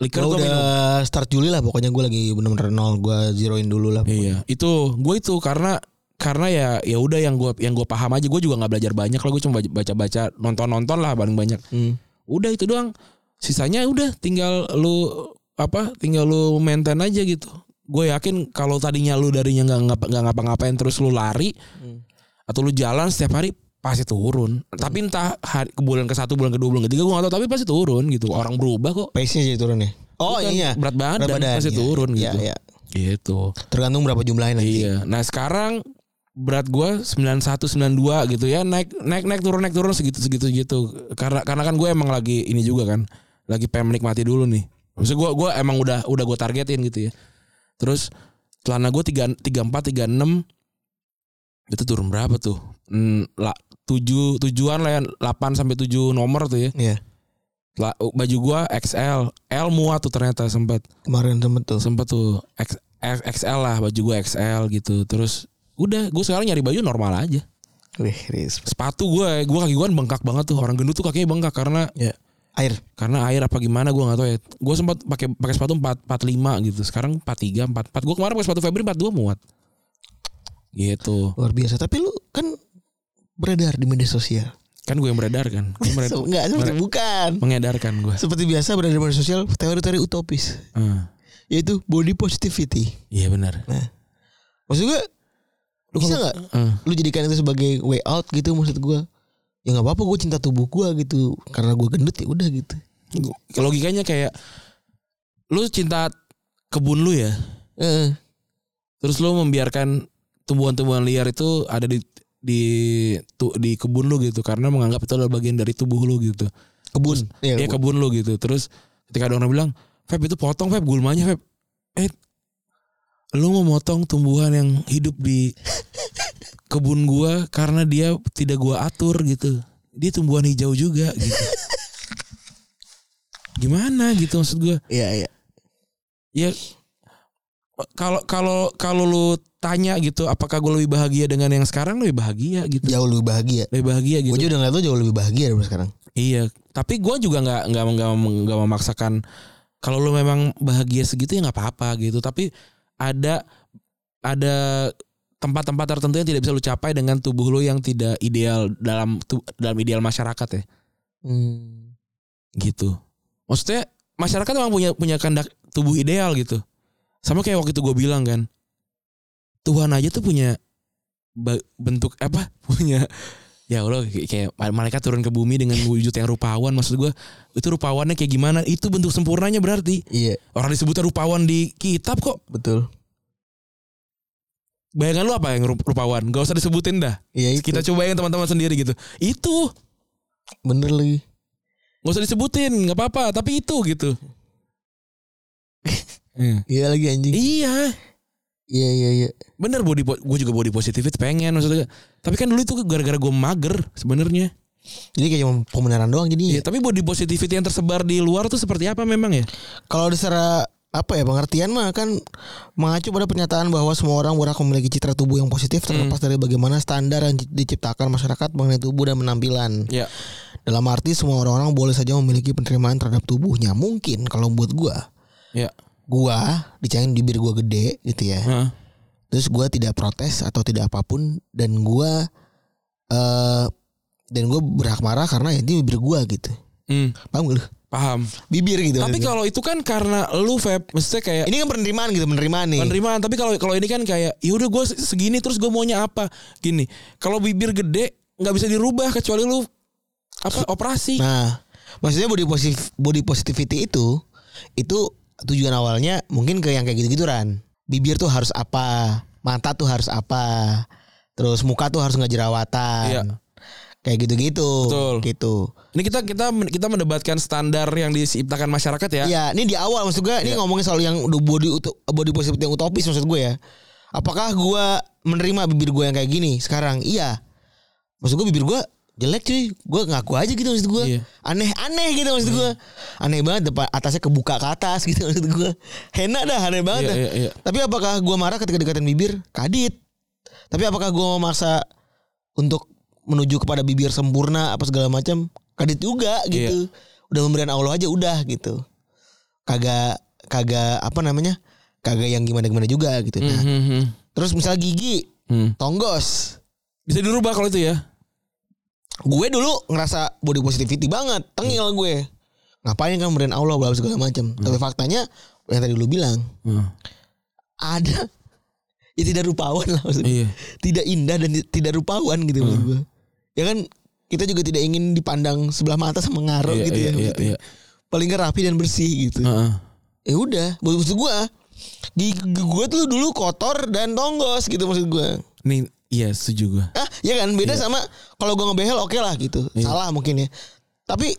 Speaker 3: liker
Speaker 2: Kalau
Speaker 3: gue Kan minum
Speaker 2: udah start Juli lah pokoknya gue lagi bener-bener nol, gue zeroin dulu lah.
Speaker 3: iya itu gue itu karena karena ya ya udah yang gue yang gue paham aja gue juga nggak belajar banyak lah gue cuma baca baca nonton nonton lah paling banyak
Speaker 2: Hmm.
Speaker 3: udah itu doang sisanya udah tinggal lu apa tinggal lu maintain aja gitu gue yakin kalau tadinya lu darinya nggak ngapa nggak ngapa-ngapain terus lu lari atau lu jalan setiap hari pasti turun tapi entah hari, ke bulan ke satu bulan ke dua bulan ketiga gue gak tahu tapi pasti turun gitu orang berubah kok
Speaker 2: Pace-nya jadi turun ya. Oh
Speaker 3: Bukan,
Speaker 2: iya.
Speaker 3: berat badan, pasti
Speaker 2: Iya,
Speaker 3: turun
Speaker 2: iya,
Speaker 3: gitu
Speaker 2: iya.
Speaker 3: gitu
Speaker 2: Tergantung berapa jumlahnya nanti.
Speaker 3: Iya. Nah sekarang berat gue 91 92 gitu ya naik naik naik turun naik turun segitu segitu gitu karena karena kan gue emang lagi ini juga kan lagi pengen menikmati dulu nih maksud gue gue emang udah udah gue targetin gitu ya terus celana gue tiga tiga empat tiga enam itu turun berapa tuh Hmm, la, tujuh tujuan lah ya delapan sampai tujuh nomor tuh ya
Speaker 2: Iya.
Speaker 3: La- baju gue XL L muat tuh ternyata sempat
Speaker 2: Kemarin sempet tuh.
Speaker 3: sempet tuh X, X- XL lah baju gue XL gitu terus udah gue sekarang nyari baju normal aja
Speaker 2: Wih, respect.
Speaker 3: sepatu gue gue kaki gue kan bengkak banget tuh orang gendut tuh kakinya bengkak karena
Speaker 2: Ya. Air.
Speaker 3: karena air apa gimana gue nggak tahu ya gue sempat pakai pakai sepatu 4 45 gitu sekarang 43 44 gue kemarin pakai sepatu Febri 42 muat gitu
Speaker 2: Luar biasa. Tapi lu kan beredar di media sosial.
Speaker 3: kan gue yang beredar kan Gue mered-
Speaker 2: So, enggak, seperti bukan.
Speaker 3: mengedarkan gue
Speaker 2: Seperti biasa beredar di media sosial teori-teori utopis
Speaker 3: Ah,
Speaker 2: yaitu body positivity.
Speaker 3: iya benar
Speaker 2: Maksud gue lu bisa
Speaker 3: kalau-
Speaker 2: nggak
Speaker 3: Ah,
Speaker 2: lu jadikan itu sebagai way out gitu maksud gue ya nggak apa-apa gue cinta tubuh gue gitu karena gue gendut ya udah gitu
Speaker 3: logikanya kayak lu cinta kebun lu ya
Speaker 2: eh
Speaker 3: Terus lu membiarkan tumbuhan-tumbuhan liar itu ada di di tu- di kebun lu gitu karena menganggap itu adalah bagian dari tubuh lu gitu.
Speaker 2: kebun ya,
Speaker 3: Iya kebun lu gitu. Terus ketika ada orang bilang, "Feb itu potong Feb gulmanya Feb." Eh lu mau motong tumbuhan yang hidup di kebun gua karena dia tidak gua atur gitu. Dia tumbuhan hijau juga gitu. gimana gitu maksud gue
Speaker 2: Iya, iya.
Speaker 3: ya kalau kalau kalau lu tanya gitu apakah gue lebih bahagia dengan yang sekarang lebih bahagia gitu
Speaker 2: Jauh lebih bahagia.
Speaker 3: lebih bahagia
Speaker 2: Gue
Speaker 3: gitu
Speaker 2: juga udah ngeliat lu jauh lebih bahagia daripada sekarang.
Speaker 3: iya tapi gue juga nggak nggak nggak nggak memaksakan kalau lu memang bahagia segitu ya nggak apa-apa gitu tapi ada ada tempat-tempat tertentu yang tidak bisa lu capai dengan tubuh lu yang tidak ideal dalam tu- dalam ideal masyarakat ya
Speaker 2: Hmm.
Speaker 3: gitu maksudnya masyarakat memang punya punya kandak tubuh ideal gitu sama kayak waktu itu gue bilang kan Tuhan aja tuh punya ba- bentuk apa punya ya Allah kayak- kayak malaikat turun ke bumi dengan wujud yang rupawan maksud gue itu rupawannya kayak gimana itu bentuk sempurnanya berarti
Speaker 2: Iya,
Speaker 3: orang disebutnya rupawan di kitab kok
Speaker 2: betul.
Speaker 3: bayangan lu apa yang rup- rupawan gak usah disebutin dah
Speaker 2: Iya itu.
Speaker 3: kita coba yang teman-teman sendiri gitu itu
Speaker 2: bener lagi.
Speaker 3: gak usah disebutin nggak apa-apa tapi itu gitu Iya.
Speaker 2: Iya lagi anjing.
Speaker 3: iya
Speaker 2: Iya, iya, iya.
Speaker 3: bener body gue juga body positivity pengen maksudnya tapi kan dulu itu gara-gara gue mager sebenarnya
Speaker 2: Jadi kayak cuma pembenaran doang jadi.
Speaker 3: ya tapi body positivity yang tersebar di luar tuh seperti apa memang ya
Speaker 2: Kalau secara apa ya pengertian mah kan mengacu pada pernyataan bahwa semua orang berhak memiliki citra tubuh yang positif terlepas dari bagaimana standar yang diciptakan masyarakat mengenai tubuh dan penampilan.
Speaker 3: ya
Speaker 2: Dalam arti semua orang-orang boleh saja memiliki penerimaan terhadap tubuhnya. Mungkin kalau buat gua, Iya.
Speaker 3: ya
Speaker 2: gua dicangin bibir gua gede gitu
Speaker 3: Hmm.
Speaker 2: ya. Terus gua tidak protes atau tidak apapun dan gua eh dan gua berhak marah karena ya ini bibir gua gitu.
Speaker 3: Hmm,
Speaker 2: Paham gak lu?
Speaker 3: paham
Speaker 2: Bibir gitu.
Speaker 3: tapi
Speaker 2: maksudnya.
Speaker 3: kalau itu kan karena lu vape maksudnya kayak
Speaker 2: ini kan penerimaan gitu, penerimaan nih.
Speaker 3: penerimaan tapi kalau kalau ini kan kayak ya udah gue segini terus gue maunya apa gini kalau bibir gede nggak bisa dirubah kecuali lu apa operasi
Speaker 2: Nah, maksudnya body positif body positivity itu itu tujuan awalnya mungkin ke yang kayak gitu-gitu Ran. Bibir tuh harus apa? Mata tuh harus apa? Terus muka tuh harus nggak jerawatan.
Speaker 3: Iya.
Speaker 2: Kayak gitu-gitu.
Speaker 3: Betul.
Speaker 2: Gitu.
Speaker 3: ini kita kita kita mendebatkan standar yang diciptakan masyarakat ya
Speaker 2: Iya, ini di awal maksud gue ini ngomongin soal yang udah body utu- body positivity yang utopis maksud gue ya. Apakah gue menerima bibir gue yang kayak gini sekarang? Iya. Maksud gue bibir gue jelek cuy gue ngaku aja gitu maksud gue
Speaker 3: Iya.
Speaker 2: aneh aneh gitu maksud gue aneh banget depan atasnya kebuka ke atas gitu maksud gue enak dah aneh banget
Speaker 3: Iya,
Speaker 2: dah.
Speaker 3: iya, iya.
Speaker 2: tapi apakah gue marah ketika dekatan bibir kadit tapi apakah gue memaksa untuk menuju kepada bibir sempurna apa segala macam kadit juga gitu udah memberikan Allah aja udah gitu kagak kagak apa namanya kagak yang gimana gimana juga gitu nah
Speaker 3: Hmm, hmm,
Speaker 2: terus misal gigi
Speaker 3: hmm.
Speaker 2: tonggos
Speaker 3: bisa dirubah kalau itu ya
Speaker 2: gue dulu ngerasa body positivity banget tengil gue ngapain kan brand Allah bla bla segala macam tapi faktanya yang tadi lu bilang ada ya tidak rupawan lah maksudnya
Speaker 3: Iya.
Speaker 2: tidak indah dan ti- tidak rupawan
Speaker 3: Hmm.
Speaker 2: gitu menurut gue ya kan kita juga tidak ingin dipandang sebelah mata sama ngaruh
Speaker 3: Iya,
Speaker 2: gitu
Speaker 3: iya,
Speaker 2: ya
Speaker 3: iya, Hmm.
Speaker 2: maksudnya.
Speaker 3: iya.
Speaker 2: paling nggak rapi dan bersih gitu
Speaker 3: Heeh.
Speaker 2: ya udah buat maksud gue gigi gue tuh dulu kotor dan tonggos gitu maksud gue
Speaker 3: Nih, iya setuju gue.
Speaker 2: Ah, ya kan beda
Speaker 3: Iya.
Speaker 2: sama kalau gua ngebehel oke lah gitu. Salah mungkin ya. Tapi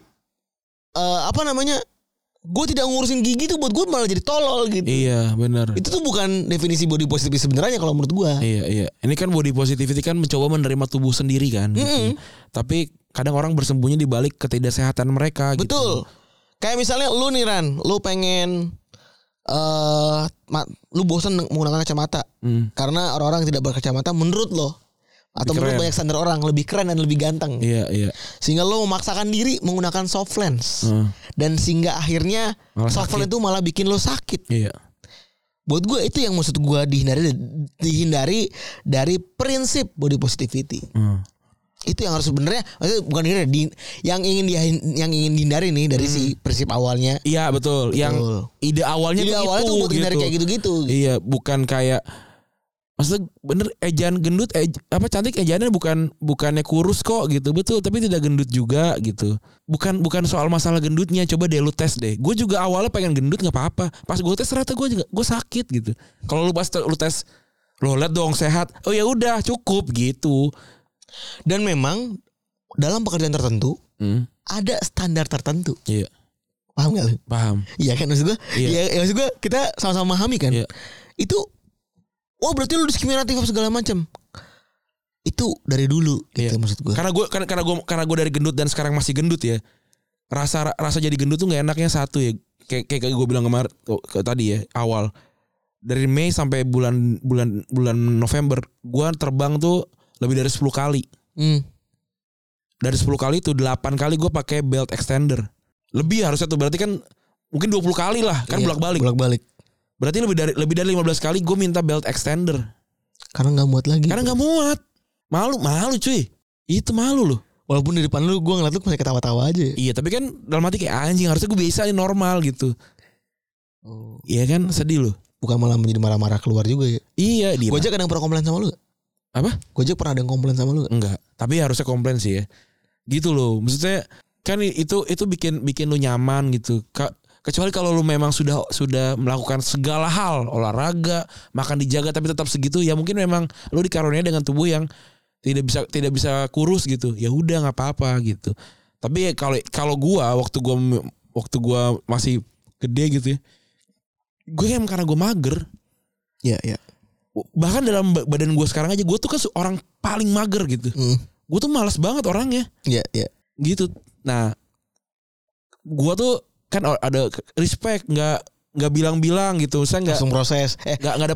Speaker 2: eh apa namanya? Gue tidak ngurusin gigi tuh buat gue malah jadi tolol gitu.
Speaker 3: Iya, benar.
Speaker 2: Itu tuh bukan definisi body positif sebenarnya kalau menurut gua.
Speaker 3: Iya, iya. Ini kan body positivity kan mencoba menerima tubuh sendiri kan. gitu. Tapi kadang orang bersembunyi di balik ketidaksehatan mereka gitu.
Speaker 2: Betul. Kayak misalnya lu nih Ran, lu pengen eh ma- lu bosan menggunakan kacamata
Speaker 3: Hmm.
Speaker 2: karena orang-orang yang tidak berkacamata menurut lo atau menurut
Speaker 3: keren.
Speaker 2: banyak standar orang lebih keren dan lebih ganteng.
Speaker 3: Iya, iya.
Speaker 2: sehingga lo memaksakan diri menggunakan soft lens
Speaker 3: Hmm.
Speaker 2: dan sehingga akhirnya
Speaker 3: Malah
Speaker 2: soft
Speaker 3: sakit.
Speaker 2: lens itu malah bikin lo sakit
Speaker 3: Iya.
Speaker 2: buat gue itu yang maksud gue dihindari dihindari dari prinsip body positivity
Speaker 3: Hmm.
Speaker 2: itu yang harus sebenarnya maksudnya bukan dihindari di- yang ingin dia yang ingin dihindari nih dari si
Speaker 3: Hmm.
Speaker 2: prinsip awalnya
Speaker 3: Iya, betul. Yang ide awalnya
Speaker 2: jadi gitu.
Speaker 3: tuh
Speaker 2: awalnya
Speaker 3: itu,
Speaker 2: tuh buat hindari kayak gitu-gitu
Speaker 3: Iya, bukan kayak Maksudnya bener ejaan gendut ej- apa cantik ejaannya bukan bukannya kurus kok gitu betul tapi tidak gendut juga gitu bukan bukan soal masalah gendutnya coba deh lu tes deh gue juga awalnya pengen gendut nggak apa-apa pas gue tes ternyata gue juga gue sakit gitu kalau lu pas te- lu tes lo liat dong sehat oh ya udah cukup gitu
Speaker 2: dan memang dalam pekerjaan tertentu
Speaker 3: Hmm,
Speaker 2: ada standar tertentu
Speaker 3: iya
Speaker 2: paham gak lu?
Speaker 3: paham
Speaker 2: Iya kan maksud gue
Speaker 3: Iya.
Speaker 2: Iya ya, maksud gue kita sama-sama memahami kan
Speaker 3: Iya.
Speaker 2: Itu Wah berarti lu diskriminatif apa segala macam Itu dari dulu gitu
Speaker 3: Iya.
Speaker 2: maksud gue
Speaker 3: Kan- karena gue karena karena gue karena gue dari gendut dan sekarang masih gendut ya rasa rasa jadi gendut tuh nggak enaknya satu ya kayak kayak gue bilang kemarin oh, ke- tadi ya awal dari Mei sampai bulan bulan bulan November gue terbang tuh lebih dari 10 kali
Speaker 2: Hmm.
Speaker 3: dari 10 kali itu 8 kali gue pakai belt extender lebih harusnya tuh berarti kan mungkin 20 kali lah kan
Speaker 2: Iya,
Speaker 3: bolak balik
Speaker 2: Bolak-balik.
Speaker 3: berarti lebih dari lebih dari 15 kali gue minta belt extender
Speaker 2: Karena nggak muat lagi.
Speaker 3: karena nggak muat malu malu cuy itu malu loh
Speaker 2: Walaupun di depan lu gue ngeliat lu masih ketawa-tawa aja. ya.
Speaker 3: iya tapi kan dalam hati kayak anjing harusnya gue biasa aja normal gitu iya kan sedih loh
Speaker 2: Bukan malah menjadi marah-marah keluar juga ya.
Speaker 3: iya dia
Speaker 2: Gojek kadang pernah komplain sama lu gak?
Speaker 3: Apa?
Speaker 2: Gojek pernah ada yang komplain sama lu gak?
Speaker 3: Enggak, tapi harusnya komplain sih ya. Gitu loh. Maksudnya kan itu itu bikin bikin lu nyaman gitu. Ka- kecuali kalau lu memang sudah sudah melakukan segala hal, olahraga, makan dijaga tapi tetap segitu ya mungkin memang lu dikaruniai dengan tubuh yang tidak bisa tidak bisa kurus gitu. Ya udah nggak apa-apa gitu. Tapi ya kalau kalau gua waktu gua waktu gua masih gede gitu ya. Gue emang karena gue mager
Speaker 2: Iya, iya.
Speaker 3: Bahkan dalam ba- badan gue sekarang aja Gue tuh kan se- orang paling mager gitu
Speaker 2: Hmm.
Speaker 3: gue tuh males banget orangnya
Speaker 2: Iya, iya.
Speaker 3: gitu nah gue tuh kan o- ada ke- respect nggak nggak bilang-bilang gitu saya nggak
Speaker 2: Langsung proses. Eh,
Speaker 3: nggak nggak ada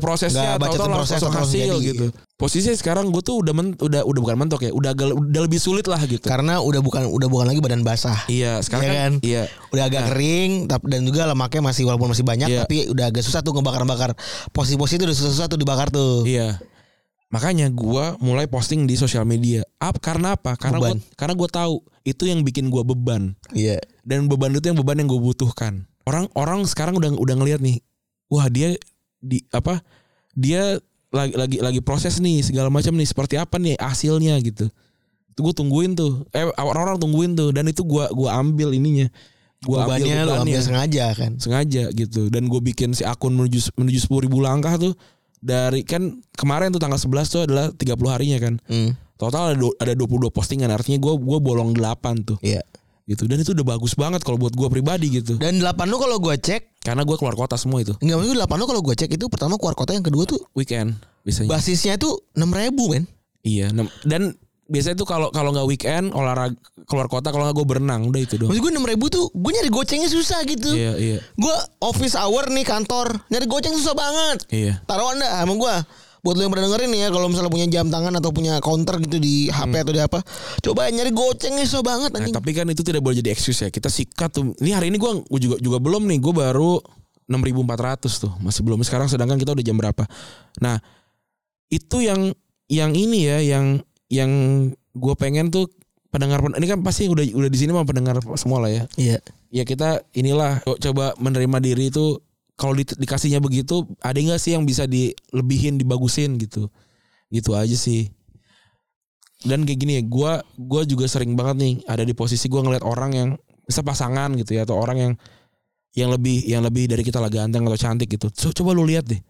Speaker 2: Nggak
Speaker 3: prosesnya
Speaker 2: baca
Speaker 3: tau-tau
Speaker 2: tuh
Speaker 3: langsung,
Speaker 2: proses,
Speaker 3: langsung
Speaker 2: langsung
Speaker 3: hasil
Speaker 2: jadi, iya.
Speaker 3: gitu posisinya sekarang gue tuh udah men- udah udah bukan mentok ya udah agak udah lebih sulit lah gitu
Speaker 2: karena udah bukan udah bukan lagi badan basah.
Speaker 3: iya sekarang
Speaker 2: Iya
Speaker 3: kan,
Speaker 2: kan?
Speaker 3: iya
Speaker 2: Udah agak kering tapi dan juga lemaknya masih walaupun masih banyak
Speaker 3: Iya.
Speaker 2: tapi udah agak susah tuh ngebakar-bakar. Posisi-posisi itu udah susah-susah tuh dibakar tuh.
Speaker 3: iya makanya gue mulai posting di sosial media up karena apa karena gue
Speaker 2: Beban.
Speaker 3: karena gue tahu itu yang bikin gue beban
Speaker 2: Iya.
Speaker 3: dan beban itu yang beban yang gue butuhkan orang orang sekarang udah udah ngelihat nih wah dia di apa dia lagi lagi lagi proses nih segala macam nih seperti apa nih hasilnya gitu itu gue tungguin tuh eh orang-orang tungguin tuh dan itu gue gua ambil ininya gue ambil
Speaker 2: Bebannya lu ambil
Speaker 3: bebannya
Speaker 2: sengaja kan.
Speaker 3: sengaja gitu dan gue bikin si akun menuju menuju sepuluh ribu langkah tuh dari kan kemarin tuh tanggal 11 tuh adalah 30 harinya kan
Speaker 2: Hmm.
Speaker 3: total ada du- ada 22 postingan artinya gue gua bolong 8 tuh
Speaker 2: Iya.
Speaker 3: gitu dan itu udah bagus banget kalau buat gue pribadi gitu
Speaker 2: Dan delapan lu kalau gua cek,
Speaker 3: karena gue keluar kota semua itu
Speaker 2: enggak maksud gua delapan lu kalau gua cek itu pertama keluar kota yang kedua tuh
Speaker 3: weekend biasanya.
Speaker 2: basisnya tuh 6.000 men.
Speaker 3: iya. nem- Dan biasanya tuh kalau kalau nggak weekend olahraga keluar kota kalau nggak gue berenang udah itu doang.
Speaker 2: Maksud gue 6 ribu tuh gue nyari gocengnya susah gitu.
Speaker 3: Iya iya
Speaker 2: Gue office hour nih kantor nyari goceng susah banget.
Speaker 3: iya.
Speaker 2: Taruhan dah sama gue. Buat lo yang pernah dengerin nih ya kalau misalnya punya jam tangan atau punya counter gitu di HP atau di apa, coba nyari gocengnya susah banget
Speaker 3: Hmm. Nah,
Speaker 2: anjing.
Speaker 3: tapi kan itu tidak boleh jadi excuse ya. Kita sikat tuh. Ini hari ini gue juga juga belum nih. Gue baru 6.400 tuh masih belum. Sekarang sedangkan kita udah jam berapa? Nah itu yang yang ini ya yang yang gue pengen tuh pendengar ini kan pasti udah udah di sini mah pendengar semua lah ya.
Speaker 2: Iya.
Speaker 3: ya kita inilah co- coba menerima diri itu kalau di- dikasihnya begitu ada nggak sih yang bisa dilebihin dibagusin gitu gitu aja sih dan kayak gini ya gue gua juga sering banget nih ada di posisi gue ngeliat orang yang bisa pasangan gitu ya atau orang yang yang lebih yang lebih dari kita lah ganteng atau cantik gitu Co- coba lu lihat deh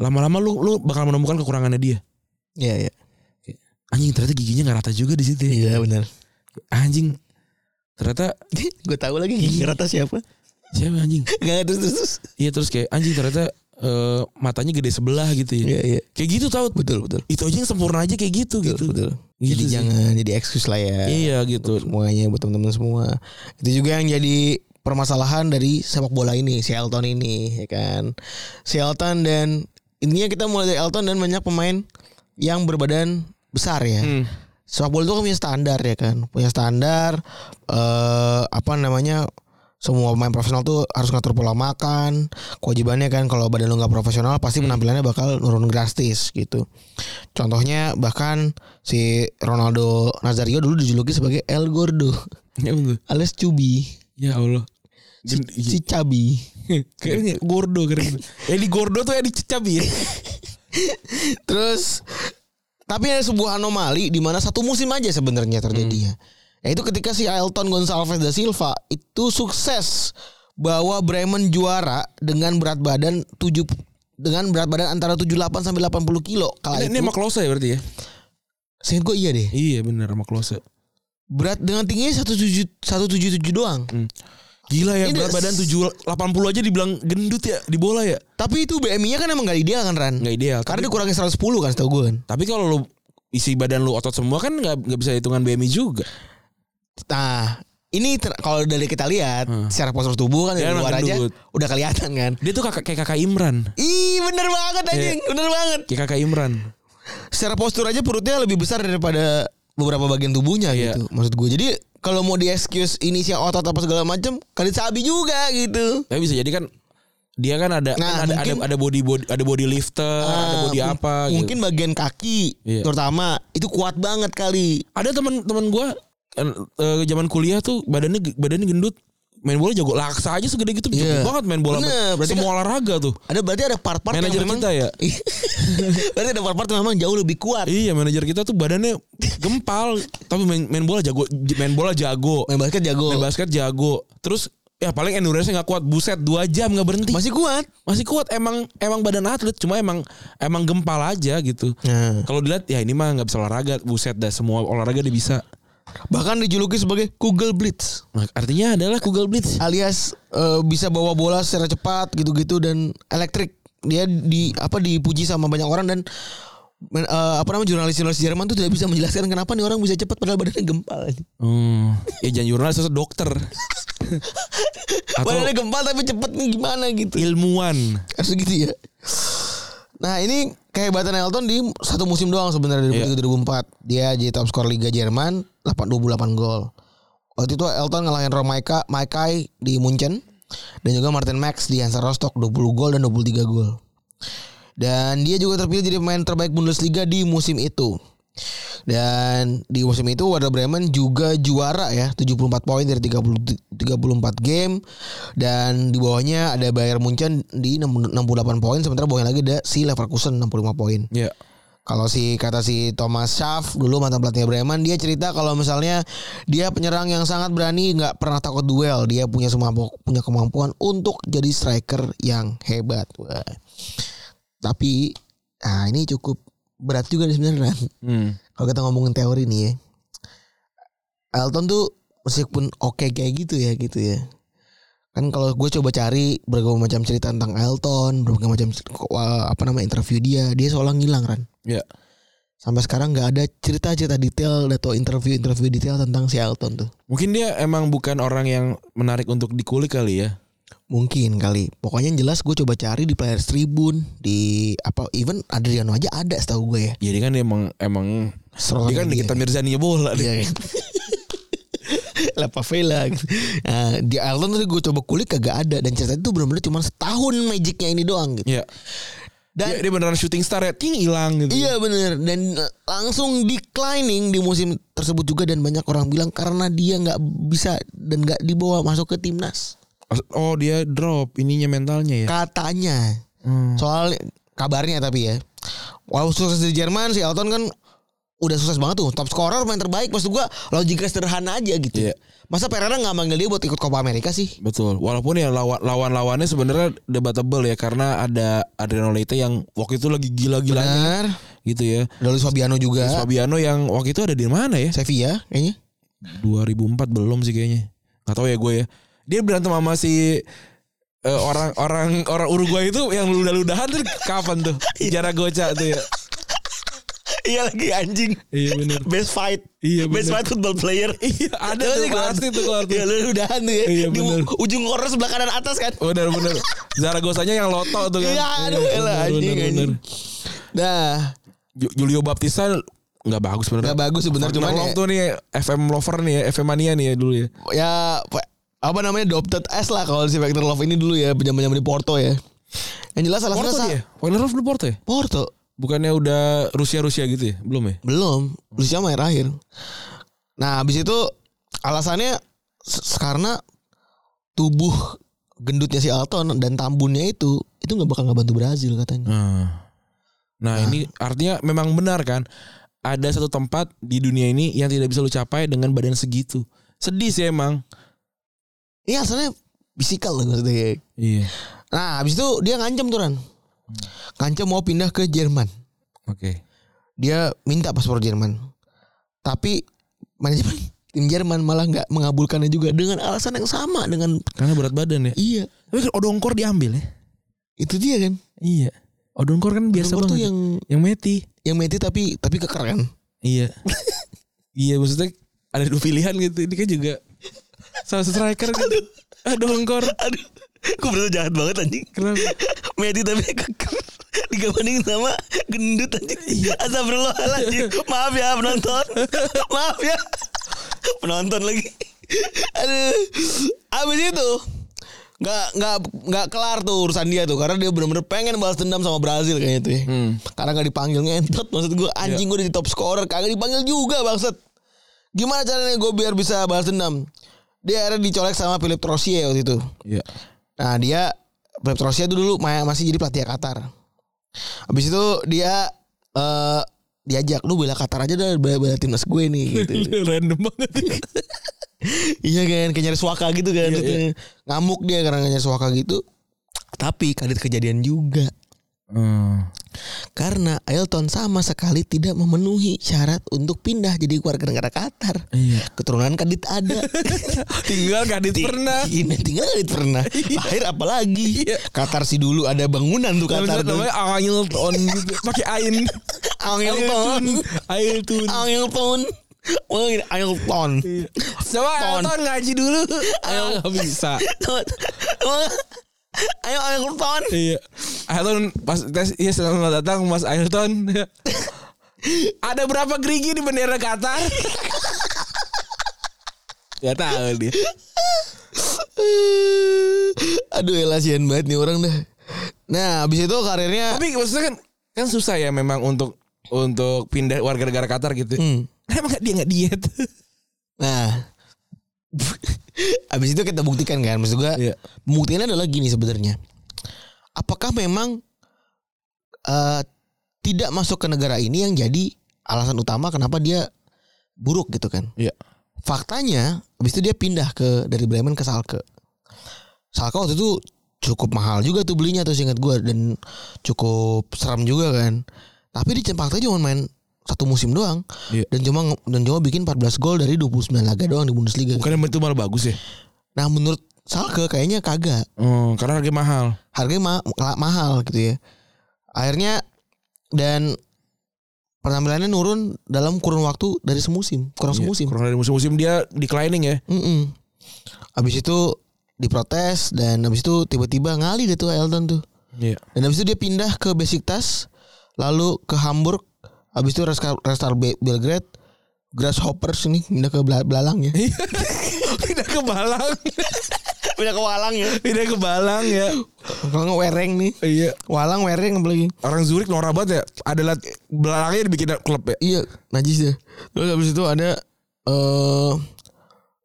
Speaker 3: lama-lama lu lu bakal menemukan kekurangannya dia
Speaker 2: Iya iya.
Speaker 3: anjing ternyata giginya nggak rata juga di situ ya.
Speaker 2: Iya benar.
Speaker 3: anjing ternyata
Speaker 2: gue tahu lagi gigi rata siapa.
Speaker 3: siapa anjing
Speaker 2: Gak terus terus. terus.
Speaker 3: Iya terus kayak anjing ternyata eh, matanya gede sebelah gitu ya.
Speaker 2: Iya iya.
Speaker 3: Kayak gitu tau.
Speaker 2: Betul betul.
Speaker 3: Itu aja yang sempurna aja kayak gitu gitu.
Speaker 2: Betul.
Speaker 3: Gitu
Speaker 2: jadi
Speaker 3: sih.
Speaker 2: jangan jadi excuse lah ya.
Speaker 3: Iya gitu.
Speaker 2: Semuanya buat teman-teman semua. Itu juga yang jadi permasalahan dari sepak bola ini, si Elton ini, ya kan. Si Elton dan intinya kita mulai dari Elton dan banyak pemain yang berbadan besar ya.
Speaker 3: Hmm.
Speaker 2: Sepak bola itu kan punya standar ya kan, punya standar eh apa namanya semua pemain profesional tuh harus ngatur pola makan kewajibannya kan kalau badan lu nggak profesional pasti penampilannya bakal nurun drastis gitu contohnya bahkan si Ronaldo Nazario dulu dijuluki sebagai El Gordo
Speaker 3: Ya betul.
Speaker 2: alias cubi
Speaker 3: Ya Allah.
Speaker 2: si,
Speaker 3: Iya.
Speaker 2: si cabi
Speaker 3: Kayaknya gordo keren. Eli gordo tuh yang dicecap ya.
Speaker 2: terus tapi ada sebuah anomali di mana satu musim aja sebenarnya
Speaker 3: Hmm.
Speaker 2: terjadinya yaitu ketika si Ailton Gonçalves da Silva itu sukses bawa Bremen juara dengan berat badan 7 dengan berat badan antara 78 sampai 80 kilo kala
Speaker 3: Ini, ini
Speaker 2: itu.
Speaker 3: sama Klose ya berarti ya?
Speaker 2: Seingat gue iya deh.
Speaker 3: Iya bener sama Klose.
Speaker 2: Berat dengan tingginya 177 177 doang.
Speaker 3: Gila ya
Speaker 2: Ini
Speaker 3: berat
Speaker 2: udah-
Speaker 3: badan 7 80 aja dibilang gendut ya di bola ya.
Speaker 2: Tapi itu BMI-nya kan emang gak ideal kan Ran?
Speaker 3: Nggak ideal.
Speaker 2: Karena
Speaker 3: Tapi,
Speaker 2: dikurangi 110 kan setahu gue kan.
Speaker 3: tapi kalau lu isi badan lu otot semua kan nggak nggak bisa hitungan BMI juga.
Speaker 2: Nah, ini ter- kalau dari kita lihat secara postur tubuh kan
Speaker 3: Hmm. Dia
Speaker 2: dari
Speaker 3: emang
Speaker 2: luar aja
Speaker 3: gendut.
Speaker 2: udah kelihatan kan.
Speaker 3: Dia tuh kakak kayak kakak Imran.
Speaker 2: Ih bener banget anjing, bener banget.
Speaker 3: Kayak kakak Imran.
Speaker 2: Iya. Secara postur aja perutnya lebih besar daripada beberapa bagian tubuhnya
Speaker 3: Iya.
Speaker 2: gitu. Maksud gue. Jadi kalau mau di excuse inisial otot apa segala macam, kali sabi juga gitu.
Speaker 3: Tapi bisa jadi kan dia kan ada
Speaker 2: Nah,
Speaker 3: kan ada,
Speaker 2: mungkin-
Speaker 3: ada ada body body ada body lifter, ada
Speaker 2: Ah,
Speaker 3: body
Speaker 2: mung-
Speaker 3: apa gitu.
Speaker 2: Mungkin bagian kaki
Speaker 3: Iya.
Speaker 2: terutama itu kuat banget kali.
Speaker 3: Ada teman-teman gua eh, eh, zaman kuliah tuh badannya ge- badannya gendut, main bola jago laksa aja segede gitu jago
Speaker 2: Iya.
Speaker 3: banget main bola.
Speaker 2: Bener, berarti kan-
Speaker 3: Semua olahraga tuh.
Speaker 2: Ada berarti ada part-part yang
Speaker 3: Manajer
Speaker 2: memang
Speaker 3: kita ya.
Speaker 2: berarti ada part-part yang memang jauh lebih kuat.
Speaker 3: Iya, manajer kita tuh badannya gempal, tapi main, main bola jago, j- main bola jago,
Speaker 2: Main basket jago.
Speaker 3: main basket jago. Terus ya paling endurance-nya nggak kuat, buset dua jam nggak berhenti.
Speaker 2: Masih kuat.
Speaker 3: masih kuat emang emang badan atlet cuma emang emang gempal aja gitu
Speaker 2: Nah.
Speaker 3: kalau dilihat ya ini mah nggak bisa olahraga buset dah semua olahraga dia bisa
Speaker 2: Bahkan dijuluki sebagai Google Blitz
Speaker 3: Nah, artinya adalah Google Blitz
Speaker 2: alias eh, bisa bawa bola secara cepat gitu-gitu dan elektrik. Dia di apa dipuji sama banyak orang dan men- eh, apa namanya jurnalis-jurnalis Jerman tuh tidak bisa menjelaskan kenapa nih orang bisa cepat padahal badannya gempal.
Speaker 3: hmm. ya jangan jurnalis harus dokter atau
Speaker 2: Badannya gempal tapi cepat nih gimana gitu.
Speaker 3: ilmuwan
Speaker 2: Harus gitu ya. Nah ini kehebatan Elton di satu musim doang sebenarnya 2003-2004. Dia jadi top skor Liga Jerman 8 28 gol. Waktu itu Elton ngalahin Romaika Maikai di Munchen dan juga Martin Max di Hansa Rostock 20 gol dan 23 gol. Dan dia juga terpilih jadi pemain terbaik Bundesliga di musim itu. Dan di musim itu Werder Bremen juga juara ya, 74 poin dari 30 34 game dan di bawahnya ada Bayern Munchen di 60 68 poin sementara bawahnya lagi ada si Leverkusen 65 poin.
Speaker 3: ya
Speaker 2: Kalau si kata si Thomas Schaaf dulu mantan pelatih Bremen dia cerita kalau misalnya dia penyerang yang sangat berani nggak pernah takut duel dia punya semua punya kemampuan untuk jadi striker yang hebat. Wah. Tapi ah ini cukup berat juga nih sebenarnya. Ran.
Speaker 3: hmm.
Speaker 2: Kalau kita ngomongin teori nih ya. Elton tuh meskipun oke kayak gitu ya gitu ya. Kan kalau gue coba cari berbagai macam cerita tentang Elton, berbagai macam eh, apa nama interview dia, dia seolah ngilang kan
Speaker 3: ya
Speaker 2: sampai sekarang nggak ada cerita-cerita detail atau interview-interview detail tentang si Elton tuh.
Speaker 3: mungkin dia emang bukan orang yang menarik untuk dikulik kali ya
Speaker 2: Mungkin kali. Pokoknya yang jelas gue coba cari di Players Tribune, di apa even Adriano aja ada setahu gue ya.
Speaker 3: jadi kan dia emang emang
Speaker 2: Serotan
Speaker 3: dia kan
Speaker 2: dia.
Speaker 3: kita Mirzani bola dia.
Speaker 2: Iya kan. La Favela gitu. Nah, di Elton tuh gue coba kulik kagak ada dan cerita itu benar-benar cuma setahun magicnya ini doang gitu.
Speaker 3: ya
Speaker 2: Dan
Speaker 3: dia, dia beneran shooting star ya ting hilang gitu
Speaker 2: Iya bener dan eh, langsung declining di musim tersebut juga dan banyak orang bilang karena dia nggak bisa dan nggak dibawa masuk ke timnas
Speaker 3: oh dia drop ininya mentalnya
Speaker 2: Iya.
Speaker 3: ya
Speaker 2: katanya
Speaker 3: Hmm.
Speaker 2: soal kabarnya tapi ya wow sukses di Jerman si Elton kan udah sukses banget tuh top scorer main terbaik maksud gua logika sederhana aja gitu
Speaker 3: Iya.
Speaker 2: masa Pereira nggak manggil dia buat ikut Copa America sih
Speaker 3: Betul. Walaupun ya lawan lawan lawannya sebenarnya debatable ya karena ada Adriano Leite yang waktu itu lagi gila-gilanya
Speaker 2: benar
Speaker 3: gitu ya.
Speaker 2: ada Luis Fabiano juga
Speaker 3: Terus Fabiano yang waktu itu ada di mana ya?
Speaker 2: Sevilla kayaknya
Speaker 3: 2004 belum sih kayaknya. Gak tahu ya gue ya. Dia berantem sama si eh, orang orang orang Uruguay itu yang ludah-ludahan tuh kapan tuh? Jara Goca tuh ya.
Speaker 2: iya lagi anjing
Speaker 3: Iya benar.
Speaker 2: best fight
Speaker 3: Iya, bener.
Speaker 2: football player
Speaker 3: Iya, ada tuh, pasti tuh keluar tuh.
Speaker 2: Iya lu udahan tuh ya
Speaker 3: Iya,
Speaker 2: Di
Speaker 3: bener.
Speaker 2: u- ujung korner sebelah kanan atas kan
Speaker 3: Benar benar. Jara Gocanya yang loto tuh kan.
Speaker 2: Iya aduh
Speaker 3: Iya,
Speaker 2: elah
Speaker 3: benar,
Speaker 2: anjing
Speaker 3: benar,
Speaker 2: anjing
Speaker 3: benar.
Speaker 2: Nah
Speaker 3: Ju- Julio Baptista nggak bagus bener
Speaker 2: Nggak bagus sebenarnya, cuman
Speaker 3: Love
Speaker 2: ya-
Speaker 3: tuh nih FM lover nih ya FM mania nih ya dulu ya
Speaker 2: ya pe- apa namanya adopted S lah kalau si Vector Love ini dulu ya zaman zaman di Porto ya. Yang jelas alasannya
Speaker 3: Porto
Speaker 2: sa-
Speaker 3: dia Wagner Love di Porto ya
Speaker 2: Porto
Speaker 3: bukannya udah Rusia Rusia gitu ya belum ya
Speaker 2: belum Lucia main akhir. Nah habis itu alasannya s- karena tubuh gendutnya si Alton dan tambunnya itu itu nggak bakal ngebantu Brazil katanya.
Speaker 3: nah, ini artinya memang benar kan ada satu tempat di dunia ini yang tidak bisa lu capai dengan badan segitu sedih sih emang
Speaker 2: Iya alasannya fisikal lah maksudnya.
Speaker 3: iya
Speaker 2: Nah habis itu dia ngancam tuh Ran. Ngancam mau pindah ke Jerman.
Speaker 3: oke
Speaker 2: dia minta paspor Jerman. Tapi manajemen tim Jerman malah nggak mengabulkannya juga dengan alasan yang sama dengan
Speaker 3: karena berat badan ya
Speaker 2: iya
Speaker 3: tapi kan odongkor diambil ya
Speaker 2: itu dia kan
Speaker 3: iya odongkor kan biasa
Speaker 2: Nomor tuh
Speaker 3: banget
Speaker 2: yang
Speaker 3: yang meti
Speaker 2: yang meti tapi tapi keker kan
Speaker 3: Iya. iya maksudnya ada dua pilihan gitu. Ini kan juga Salah satu striker. Aduh. Aduh engkor.
Speaker 4: Aduh, gue bener jahat banget anjing.
Speaker 3: Kenapa?
Speaker 4: Medi tapi kekem digabungin sama gendut anjing. Astagfirullahaladzim. Maaf ya penonton. Maaf ya. Penonton lagi. Aduh.
Speaker 2: Abis itu nggak nggak nggak kelar tuh urusan dia tuh karena dia bener-bener pengen balas dendam sama Brazil kayaknya tuh ya. karena nggak dipanggil ngentot maksud gue anjing gue udah di top scorer kagak dipanggil juga bangsat gimana caranya gue biar bisa balas dendam dia akhirnya dicolek sama Philip Trossier waktu itu
Speaker 3: Iya.
Speaker 2: nah dia Philip Trossier itu dulu ma- masih jadi pelatih Qatar habis itu dia eh diajak lu bela Qatar aja dah bela, bela timnas gue nih gitu
Speaker 3: Random banget.
Speaker 2: Iya kan kayak nyari suaka gitu kan katanya. Ngamuk dia karena nggak nyari suaka gitu Tapi kadit kejadian juga
Speaker 3: Hmm.
Speaker 2: Karena Elton sama sekali tidak memenuhi syarat untuk pindah jadi warga negara Qatar
Speaker 3: Iya.
Speaker 2: Keturunan kadit ada
Speaker 3: Tinggal Kadit
Speaker 2: Ti-
Speaker 3: pernah.
Speaker 2: Ini tinggal kadit pernah Lahir apalagi Qatar sih dulu ada Iya. bangunan tuh
Speaker 3: Kalau
Speaker 2: Qatar
Speaker 3: misalnya
Speaker 2: tuh
Speaker 3: namanya Ailton gitu. Pakai Ain.
Speaker 2: Ailton
Speaker 3: Ailton.
Speaker 2: Ailton Ailton
Speaker 3: Coba
Speaker 2: Ton.
Speaker 3: Ailton ngaji dulu. Ayo nggak bisa.
Speaker 2: Ayo Ailton
Speaker 3: Iya. Ailton pas tes iya selamat datang Mas Ailton. Ada berapa gerigi di bendera Qatar? Gak tahu dia.
Speaker 2: Aduh ya sian banget nih orang dah Nah abis itu karirnya
Speaker 3: Tapi maksudnya kan kan susah ya memang untuk untuk pindah warga negara Qatar gitu.
Speaker 2: Hmm.
Speaker 3: Emang dia nggak diet?
Speaker 2: Nah Abis itu kita buktikan kan Maksud gue
Speaker 3: Iya.
Speaker 2: Buktiannya adalah gini sebenarnya Apakah memang eh Tidak masuk ke negara ini yang jadi Alasan utama kenapa dia Buruk gitu kan
Speaker 3: Iya.
Speaker 2: Faktanya Abis itu dia pindah ke Dari Bremen ke Salke Salke waktu itu Cukup mahal juga tuh belinya tuh seingat gue Dan cukup seram juga kan Tapi di faktanya cuma main satu musim doang
Speaker 3: Iya.
Speaker 2: dan cuma dan cuma bikin 14 gol dari 29 laga doang di Bundesliga.
Speaker 3: Bukan yang itu malah bagus ya?
Speaker 2: Nah menurut Salke kayaknya kagak
Speaker 3: Oh, karena harga mahal.
Speaker 2: harganya ma- ma- mahal gitu ya. Akhirnya dan penampilannya nurun dalam kurun waktu dari semusim Iya, kurang semusim.
Speaker 3: Iya, Kurang dari musim-musim dia declining ya.
Speaker 2: Mm-mm. Abis itu diprotes dan abis itu tiba-tiba ngali deh tuh Elton tuh.
Speaker 3: Iya.
Speaker 2: Dan abis itu dia pindah ke Besiktas, lalu ke Hamburg, abis itu Restar, Restar Be- Belgrade, Grasshoppers ini pindah ke Bela- Belalang ya.
Speaker 3: Pindah ke Balang.
Speaker 2: pindah ke Walang ya.
Speaker 3: Pindah ke Balang ya.
Speaker 2: Kalau nggak Wereng nih.
Speaker 3: Iya.
Speaker 2: Walang Wereng apalagi.
Speaker 3: Orang Zurich norak banget ya. Adalah belakangnya dibikin klub ya.
Speaker 2: Iya, najis ya. Terus habis itu ada eh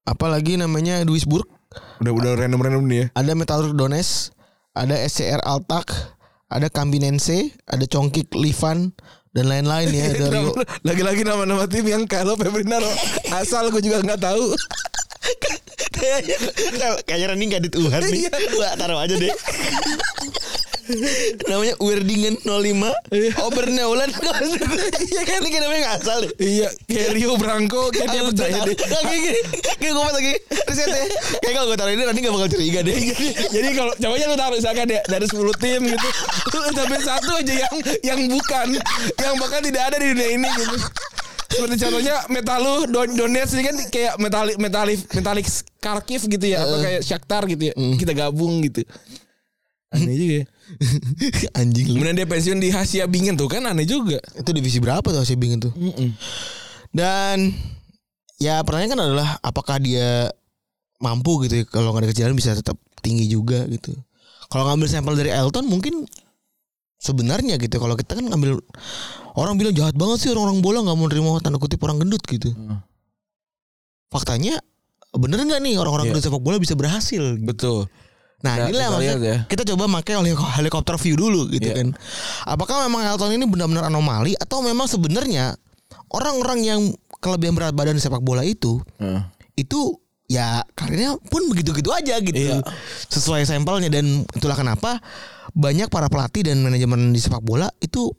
Speaker 2: apa lagi namanya Duisburg,
Speaker 3: Udah udah random-random nih ya.
Speaker 2: ada Metalurg Donetsk, ada SCR Altak, ada Kambinense, ada Congkik Livan dan lain-lain ya. Ada Rio.
Speaker 3: Lagi-lagi nama-nama tim yang kalau Febrinaro asal gue juga nggak tahu.
Speaker 2: Kayaknya Rani gak dituhan nih. Wah, taruh aja deh. namanya Werdingen 05 Oh, Oberneuland Iya kan ini namanya gak asal deh
Speaker 3: Iya, kayak Rio Branco kayak dia
Speaker 2: Ayo,
Speaker 3: percaya
Speaker 2: bentar.
Speaker 3: deh.
Speaker 2: Kayak gini, kayak gue pas lagi riset ya. Kayak kalau gue taruh ini nanti gak bakal curiga deh.
Speaker 3: Iya, Jadi kalau coba aja lu taruh misalkan ya, dari 10 tim gitu, lu sampai satu aja yang yang bukan, yang bahkan tidak ada di dunia ini gitu. Seperti contohnya Metalu Don Donetsk ini kan kayak metalik metalik metalik Kharkiv gitu ya, apa kayak Shakhtar gitu ya. Kita gabung gitu. Aneh juga. ya.
Speaker 2: Anjing lu.
Speaker 3: Kemudian dia pensiun di Hasia Bingen tuh kan aneh juga.
Speaker 2: Itu divisi berapa tuh si Bing itu? Dan ya pertanyaan kan adalah apakah dia mampu gitu ya kalau nggak ada kejadian bisa tetap tinggi juga gitu. Kalau ngambil sampel dari Elton mungkin sebenarnya gitu kalau kita kan ngambil orang bilang jahat banget sih orang-orang bola nggak mau nerima tanda kutip orang gendut gitu.
Speaker 3: Hmm.
Speaker 2: Faktanya bener nggak nih orang-orang
Speaker 3: Iya.
Speaker 2: gendut sepak bola bisa berhasil? gitu?
Speaker 3: Betul.
Speaker 2: Nah, inilah
Speaker 3: Nah, kita
Speaker 2: maksudnya
Speaker 3: lihat ya.
Speaker 2: kita coba pakai oleh helikopter view dulu gitu
Speaker 3: Iya.
Speaker 2: kan. Apakah memang Elton ini benar-benar anomali atau memang sebenarnya orang-orang yang kelebihan berat badan di sepak bola itu
Speaker 3: Nah,
Speaker 2: itu ya karirnya pun begitu-gitu aja gitu.
Speaker 3: Iya.
Speaker 2: Sesuai sampelnya dan itulah kenapa banyak para pelatih dan manajemen di sepak bola itu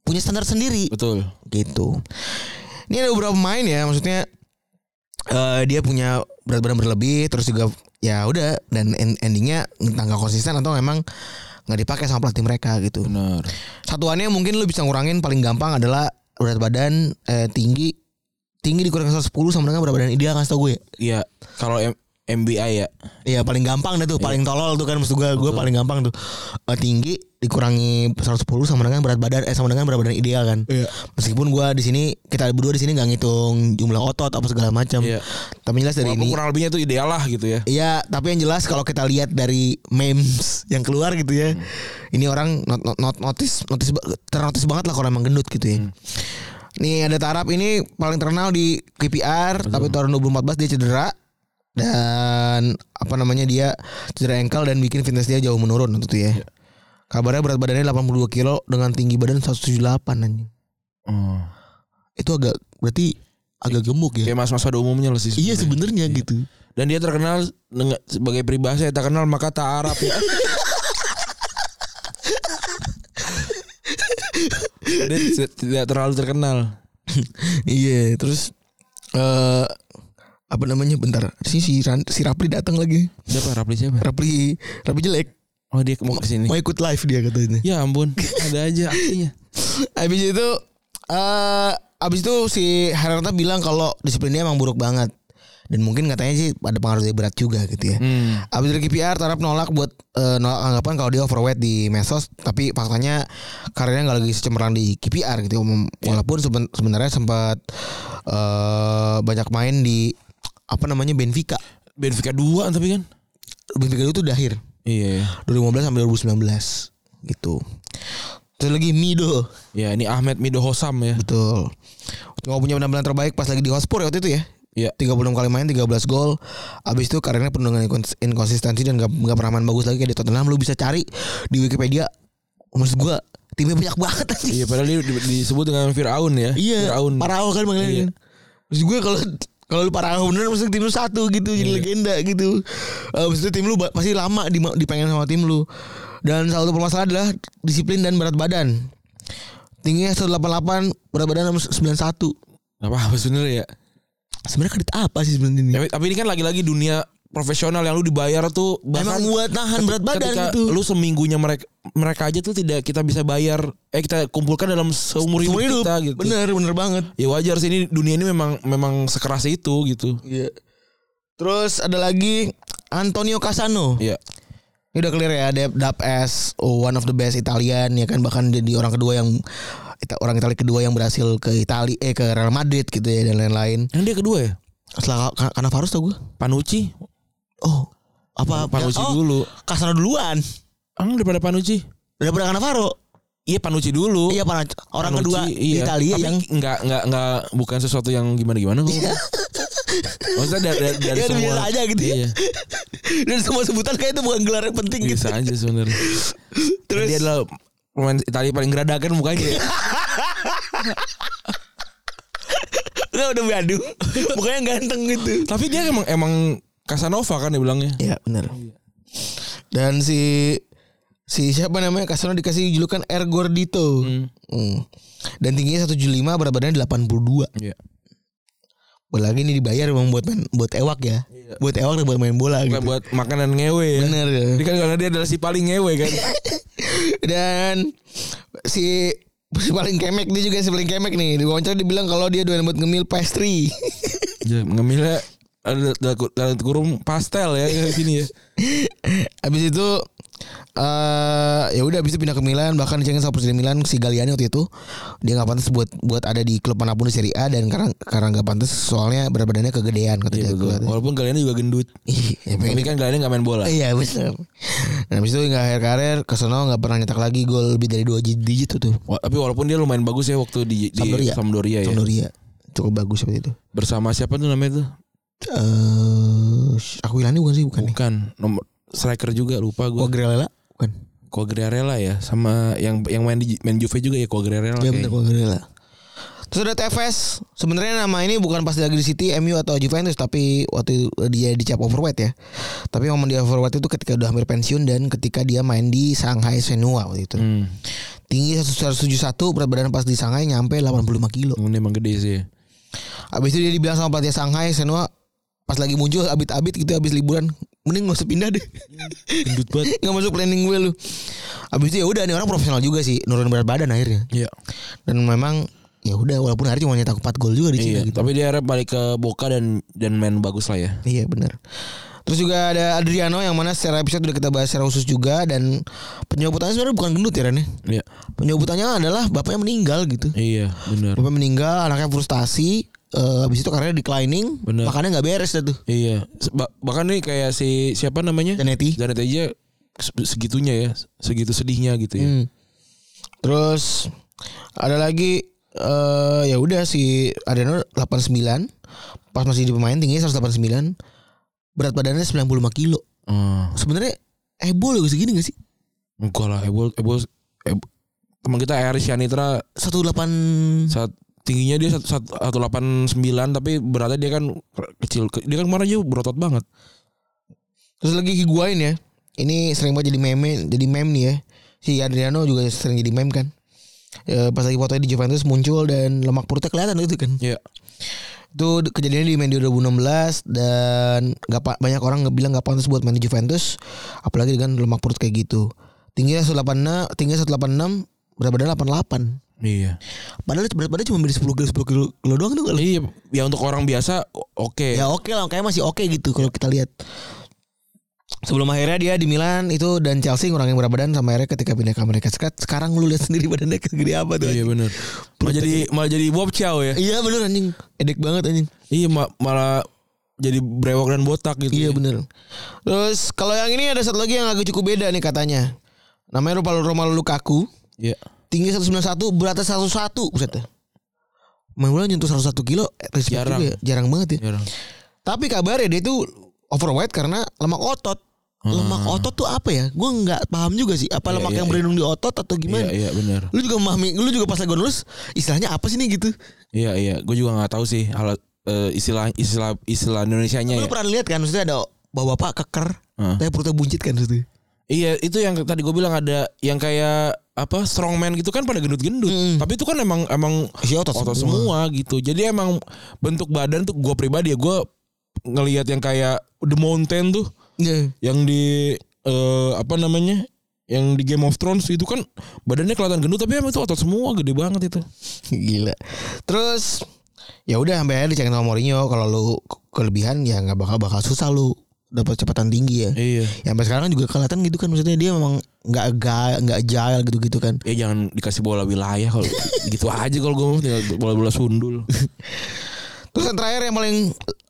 Speaker 2: punya standar sendiri
Speaker 3: Betul.
Speaker 2: gitu. Ini ada beberapa pemain ya, maksudnya eh, dia punya berat badan berlebih, terus juga ya udah dan en- endingnya entah nggak konsisten atau emang nggak dipakai sama pelatih mereka gitu.
Speaker 3: Benar.
Speaker 2: Satuannya mungkin lu bisa ngurangin paling gampang adalah berat badan eh, tinggi tinggi dikurangin 110 sama dengan berat badan ideal ngasih tau gue ya.
Speaker 3: Iya, kalau em- MBI ya.
Speaker 2: Iya paling gampang dah tuh, paling tolol tuh kan maksud gue, gue paling gampang tuh. Eh, tinggi dikurangi 110 sama dengan berat badan eh sama dengan berat badan ideal kan.
Speaker 3: Iya.
Speaker 2: Meskipun gue di sini kita berdua di sini nggak ngitung jumlah otot apa segala macam.
Speaker 3: Iya.
Speaker 2: Tapi jelas dari
Speaker 3: Walaupun
Speaker 2: ini.
Speaker 3: kurang lebihnya itu ideal lah gitu ya.
Speaker 2: Iya, tapi yang jelas kalau kita lihat dari memes yang keluar gitu ya,
Speaker 3: Hmm.
Speaker 2: ini orang not, not, not- notice, notice ba- ternotice banget lah kalau emang gendut gitu
Speaker 3: Hmm.
Speaker 2: ya. Nih ada Tarap ini paling terkenal di KPR, tapi tahun 2014 dia cedera dan apa namanya dia cedera engkel dan bikin fitness dia jauh menurun waktu itu ya.
Speaker 3: Iya.
Speaker 2: Kabarnya berat badannya 82 kilo dengan tinggi badan 178 anjing.
Speaker 3: Oh.
Speaker 2: Itu agak berarti agak gemuk ya.
Speaker 3: Kayak mas-mas pada umumnya lah sih.
Speaker 2: Iya sebenarnya
Speaker 3: sebenarnya.
Speaker 2: gitu.
Speaker 3: Dan dia terkenal dengan- sebagai peribahasa yang tak kenal maka tak Arab ya. dia tidak- tidak terlalu terkenal.
Speaker 2: Iya, terus eh apa namanya? Bentar. Si si, Ran- si Rapli datang lagi.
Speaker 3: Siapa Rapli siapa?
Speaker 2: Rapli Rapli jelek.
Speaker 3: Oh dia mau kesini.
Speaker 2: Mau ikut live dia katanya.
Speaker 3: Ya ampun, ada aja aksinya.
Speaker 2: Habis itu eh habis itu si Herrera bilang kalau disiplinnya emang buruk banget. Dan mungkin katanya sih ada pengaruh dari berat juga gitu ya.
Speaker 3: Hmm.
Speaker 2: Abis dari KPR Tarap nolak buat eh, nolak anggapan kalau dia overweight di Mesos tapi faktanya karirnya nggak lagi secemerlang di KPR gitu Mem- walaupun seben- sebenarnya sempat eh, banyak main di apa namanya Benfica
Speaker 3: Benfica 2 tapi kan.
Speaker 2: Benfica itu udah akhir
Speaker 3: Iya.
Speaker 2: 2015 sampai 2019 gitu terus lagi Mido
Speaker 3: Ya ini Ahmed Mido Hosam ya.
Speaker 2: betul nggak punya penampilan terbaik pas lagi di Hotspur ya waktu itu ya
Speaker 3: Iya.
Speaker 2: 36 kali main 13 gol Abis itu karirnya penuh dengan inkons- inkonsistensi Dan gak, gak pernah main bagus lagi kayak di Tottenham Lu bisa cari di Wikipedia Maksud gue timnya banyak banget anjing
Speaker 3: Iya padahal dia di- disebut dengan Firaun ya.
Speaker 2: Iya
Speaker 3: Firaun.
Speaker 2: Parao kan
Speaker 3: Iya.
Speaker 2: makanya Maksud gue kalau kalau lu parao bener maksudnya tim lu satu gitu
Speaker 3: Iya.
Speaker 2: jadi legenda gitu. Eh, Abis itu tim lu ba- pasti lama di dipengen sama tim lu. Dan salah satu permasalahan adalah disiplin dan berat badan. Tingginya 188, berat badan 91.
Speaker 3: Gak apa-apa sebenernya ya.
Speaker 2: Hmm. Sebenarnya kredit apa sih sebenarnya ini?
Speaker 3: Tapi, tapi ini kan lagi-lagi dunia profesional yang lu dibayar tuh
Speaker 2: Emang buat nahan berat badan
Speaker 3: ketika
Speaker 2: gitu.
Speaker 3: lu seminggunya mereka mereka aja tuh tidak kita bisa bayar eh kita kumpulkan dalam seumur hidup,
Speaker 2: Seumur hidup.
Speaker 3: kita gitu.
Speaker 2: Bener, bener banget.
Speaker 3: Ya wajar sih ini dunia ini memang memang sekeras itu gitu.
Speaker 2: Iya. Terus ada lagi Antonio Casano.
Speaker 3: Iya.
Speaker 2: Ini udah clear ya, dia dap as oh, one of the best Italian ya kan bahkan jadi orang kedua yang Ita- orang Italia kedua yang berhasil ke Italia eh ke Real Madrid gitu ya dan lain-lain.
Speaker 3: Yang dia kedua ya?
Speaker 2: Setelah Ka- Cannavaro tau gue.
Speaker 3: Panucci.
Speaker 2: Oh, apa
Speaker 3: Panucci
Speaker 2: oh,
Speaker 3: dulu.
Speaker 2: Casano duluan.
Speaker 3: Ang daripada Panucci.
Speaker 2: Daripada Cannavaro.
Speaker 3: Iya Panucci dulu.
Speaker 2: Iya, para orang
Speaker 3: Panucci,
Speaker 2: kedua di Italia
Speaker 3: iya. Tapi
Speaker 2: yang
Speaker 3: nggak nggak nggak bukan sesuatu yang gimana gimana kok. Maksudnya dari, dari, dari
Speaker 2: Iya,
Speaker 3: semua
Speaker 2: biasa aja gitu ya.
Speaker 3: Iya,
Speaker 2: dan semua sebutan kayak itu bukan gelar yang penting gitu.
Speaker 3: biasa aja sebenarnya. Terus dia adalah pemain Italia paling geradakan mukanya. ya.
Speaker 4: Kan Udah udah gaduh. Mukanya ganteng gitu.
Speaker 3: Tapi dia emang emang Casanova kan dia bilangnya.
Speaker 2: Iya benar. Dan si si siapa namanya Casano dikasih julukan R Gordito. Hmm. Dan tingginya 175 berat badannya 82.
Speaker 3: Iya.
Speaker 2: Boleh lagi ini dibayar emang buat main buat ewak ya. Buat ewak dan buat main bola
Speaker 3: Bukan
Speaker 2: gitu.
Speaker 3: buat makanan ngewe ya.
Speaker 2: Bener ya.
Speaker 3: Dia kan karena dia adalah si paling ngewe kan.
Speaker 2: Dan si si paling kemek dia juga si paling kemek nih. Di wawancara dia bilang kalau dia doyan buat ngemil pastry.
Speaker 3: ya, ngemilnya ada ada- ada kurung pastel ya di sini ya.
Speaker 2: Habis itu eh ya udah habis itu pindah ke Milan bahkan dicengin sama presiden Milan si Galliani waktu itu dia nggak pantas buat buat ada di klub manapun di Serie A dan karena karena nggak pantas soalnya berat badannya kegedean kata dia
Speaker 3: Iya betul. Walaupun kalian juga gendut.
Speaker 2: Ih, ya pengen
Speaker 3: Tapi kan kalian gak main bola.
Speaker 2: Iya benar. Nah habis itu nggak akhir karir Kesana nggak pernah nyetak lagi gol lebih dari dua digit tuh.
Speaker 3: Wa- Tapi walaupun dia lumayan bagus ya waktu di, di
Speaker 2: Sampdoria.
Speaker 3: Sampdoria ya.
Speaker 2: Sampdoria cukup bagus seperti itu.
Speaker 3: Bersama siapa tuh namanya tuh?
Speaker 2: Eh, aku ini bukan sih bukan nih.
Speaker 3: Bukan nomor striker juga lupa gue.
Speaker 2: Quagliarella bukan.
Speaker 3: Quagliarella ya sama yang yang main di main Juve juga ya Quagliarella.
Speaker 2: Iya benar
Speaker 3: kayaknya.
Speaker 2: Quagliarella. Terus ada Tevez. Sebenarnya nama ini bukan pas lagi di City, MU atau Juventus, tapi waktu itu eh, dia dicap overweight ya. Tapi momen dia overweight itu ketika udah hampir pensiun dan ketika dia main di Shanghai Shenhua waktu itu.
Speaker 3: Hmm.
Speaker 2: Tinggi 171, berat badan pas di Shanghai nyampe 85 kilo.
Speaker 3: Ini emang gede sih. ya.
Speaker 2: Abis itu dia dibilang sama pelatih Shanghai Shenhua pas lagi muncul abit-abit gitu abis liburan mending gak usah pindah deh
Speaker 3: Gendut banget.
Speaker 2: nggak masuk planning gue lu abis itu ya udah nih orang profesional juga sih nurunin berat badan akhirnya
Speaker 3: Iya.
Speaker 2: dan memang ya udah walaupun hari cuma nyetak 4 gol juga di gitu. sini
Speaker 3: Iya, tapi dia akhirnya balik ke Boca dan dan main bagus lah ya.
Speaker 2: Iya benar. Terus juga ada Adriano yang mana secara episode udah kita bahas secara khusus juga dan penyebutannya sebenarnya bukan gendut ya Ren. ya?
Speaker 3: Iya.
Speaker 2: Penyebutannya adalah bapaknya meninggal gitu.
Speaker 3: Iya, benar.
Speaker 2: Bapaknya meninggal, anaknya frustasi, eh habis itu karirnya declining,
Speaker 3: Bener.
Speaker 2: makannya nggak beres dah tuh.
Speaker 3: Iya. Ba- Bahkan nih kayak si siapa namanya?
Speaker 2: Zanetti.
Speaker 3: Janet aja se- segitunya ya, segitu sedihnya gitu ya.
Speaker 2: Hmm. Terus ada lagi eh ya udah si Adriano 89 pas masih di pemain tingginya 189 berat badannya 95 kilo.
Speaker 3: Hmm.
Speaker 2: Sebenarnya heboh loh segini gak sih?
Speaker 3: Enggak lah, Ebol, Ebol, Eb- teman kita Eris Yanitra
Speaker 2: 18
Speaker 3: saat tingginya dia satu- satu- 189 tapi beratnya dia kan kecil. Ke- Dia kan kemarin aja berotot banget.
Speaker 2: Terus lagi higuain ya. Ini sering banget jadi meme, jadi meme nih ya. Si Adriano juga sering jadi meme kan. Eh, pas lagi fotonya di Juventus muncul dan lemak perutnya kelihatan gitu kan.
Speaker 3: Iya.
Speaker 2: Itu d- kejadiannya di Mendy 2016 dan gak pa- banyak orang nggak bilang gak pantas buat main di Juventus, apalagi dengan lemak perut kayak gitu. Tingginya 186, tingginya 186, berat badan 88.
Speaker 3: Iya.
Speaker 2: Padahal berat badan cuma beda 10 kilo 10 kilo, kilo doang tuh. nggak lu?
Speaker 3: Iya, ya untuk orang biasa o- oke.
Speaker 2: Ya oke lah, kayaknya masih oke gitu kalau kita lihat. Sebelum akhirnya dia di Milan itu dan Chelsea ngurangin berat badan sama akhirnya ketika pindah ke Amerika Serikat. Sekarang lu lihat sendiri badannya segede apa tuh. anjing.
Speaker 3: Iya benar. Malah jadi malah jadi Bob Chow ya.
Speaker 2: Iya bener anjing. Edek banget anjing.
Speaker 3: Iya ma- malah jadi brewok dan botak gitu.
Speaker 2: Iya
Speaker 3: ya.
Speaker 2: bener. Terus kalau yang ini ada satu lagi yang agak cukup beda nih katanya. Namanya Romelu Romelu Lukaku.
Speaker 3: Iya.
Speaker 2: Tinggi 191, beratnya 101. Buset ya. Main bola nyentuh 101 kilo. eh, respect
Speaker 3: Jarang.
Speaker 2: juga ya. Jarang banget ya.
Speaker 3: Iya, orang.
Speaker 2: Tapi kabarnya dia tuh overweight karena lemak otot. Lemak otot tuh apa ya? Gue nggak paham juga sih. Apa lemak
Speaker 3: Hmm. iya,
Speaker 2: yang
Speaker 3: iya.
Speaker 2: berlindung di otot atau
Speaker 3: Iya,
Speaker 2: gimana?
Speaker 3: iya benar.
Speaker 2: Lu juga memahami, lu juga pas lagi nulis istilahnya apa sih nih gitu?
Speaker 3: Iya, iya. Gue juga nggak tahu sih alat eh, istilah istilah istilah
Speaker 2: Lu
Speaker 3: Indonesianya ya.
Speaker 2: pernah lihat kan? Maksudnya ada bapak-bapak keker,
Speaker 3: Heeh.
Speaker 2: tapi perutnya buncit kan situ.
Speaker 3: Iya, itu yang tadi gue bilang ada yang kayak apa strongman gitu kan pada gendut-gendut.
Speaker 2: Mm.
Speaker 3: Tapi itu kan emang emang
Speaker 2: Isi otot semua.
Speaker 3: otot semua. gitu. Jadi emang bentuk badan tuh gue pribadi ya gue ngelihat yang kayak The Mountain tuh
Speaker 2: Iya.
Speaker 3: yang di eh, apa namanya yang di Game of Thrones itu kan badannya kelihatan gendut tapi emang itu otot semua gede banget itu
Speaker 2: Gila. Terus ya udah sampai akhirnya dicengin sama Mourinho kalau lu ke- kelebihan ya nggak bakal bakal susah lu dapat kecepatan tinggi ya.
Speaker 3: iya
Speaker 2: Ya sampai sekarang juga kelihatan gitu kan maksudnya dia memang nggak ga- nggak agile gitu-gitu kan.
Speaker 3: ya jangan dikasih bola wilayah kalau gitu aja kalau gue mau tinggal bola bola sundul
Speaker 2: Terus yang terakhir yang paling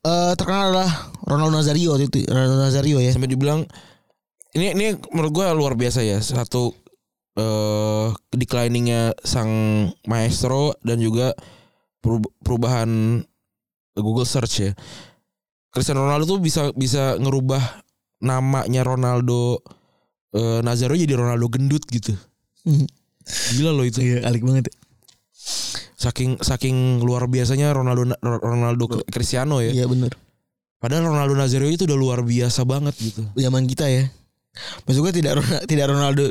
Speaker 2: eh, terkenal adalah Ronaldo Nazario waktu itu Ronaldo Nazario ya.
Speaker 3: sampai dibilang ini ini menurut gue luar biasa ya satu eh decliningnya sang maestro dan juga perub- perubahan Google search ya Cristiano Ronaldo tuh bisa bisa ngerubah namanya Ronaldo eh, Nazario jadi Ronaldo gendut gitu gila loh itu
Speaker 2: Iya,
Speaker 3: ya.
Speaker 2: alik banget.
Speaker 3: saking saking luar biasanya Ronaldo Ronaldo Cristiano ya
Speaker 2: Iya benar.
Speaker 3: padahal Ronaldo Nazario itu udah luar biasa banget gitu
Speaker 2: Zaman kita ya. Maksud gue tidak Ron- tidak Ronaldo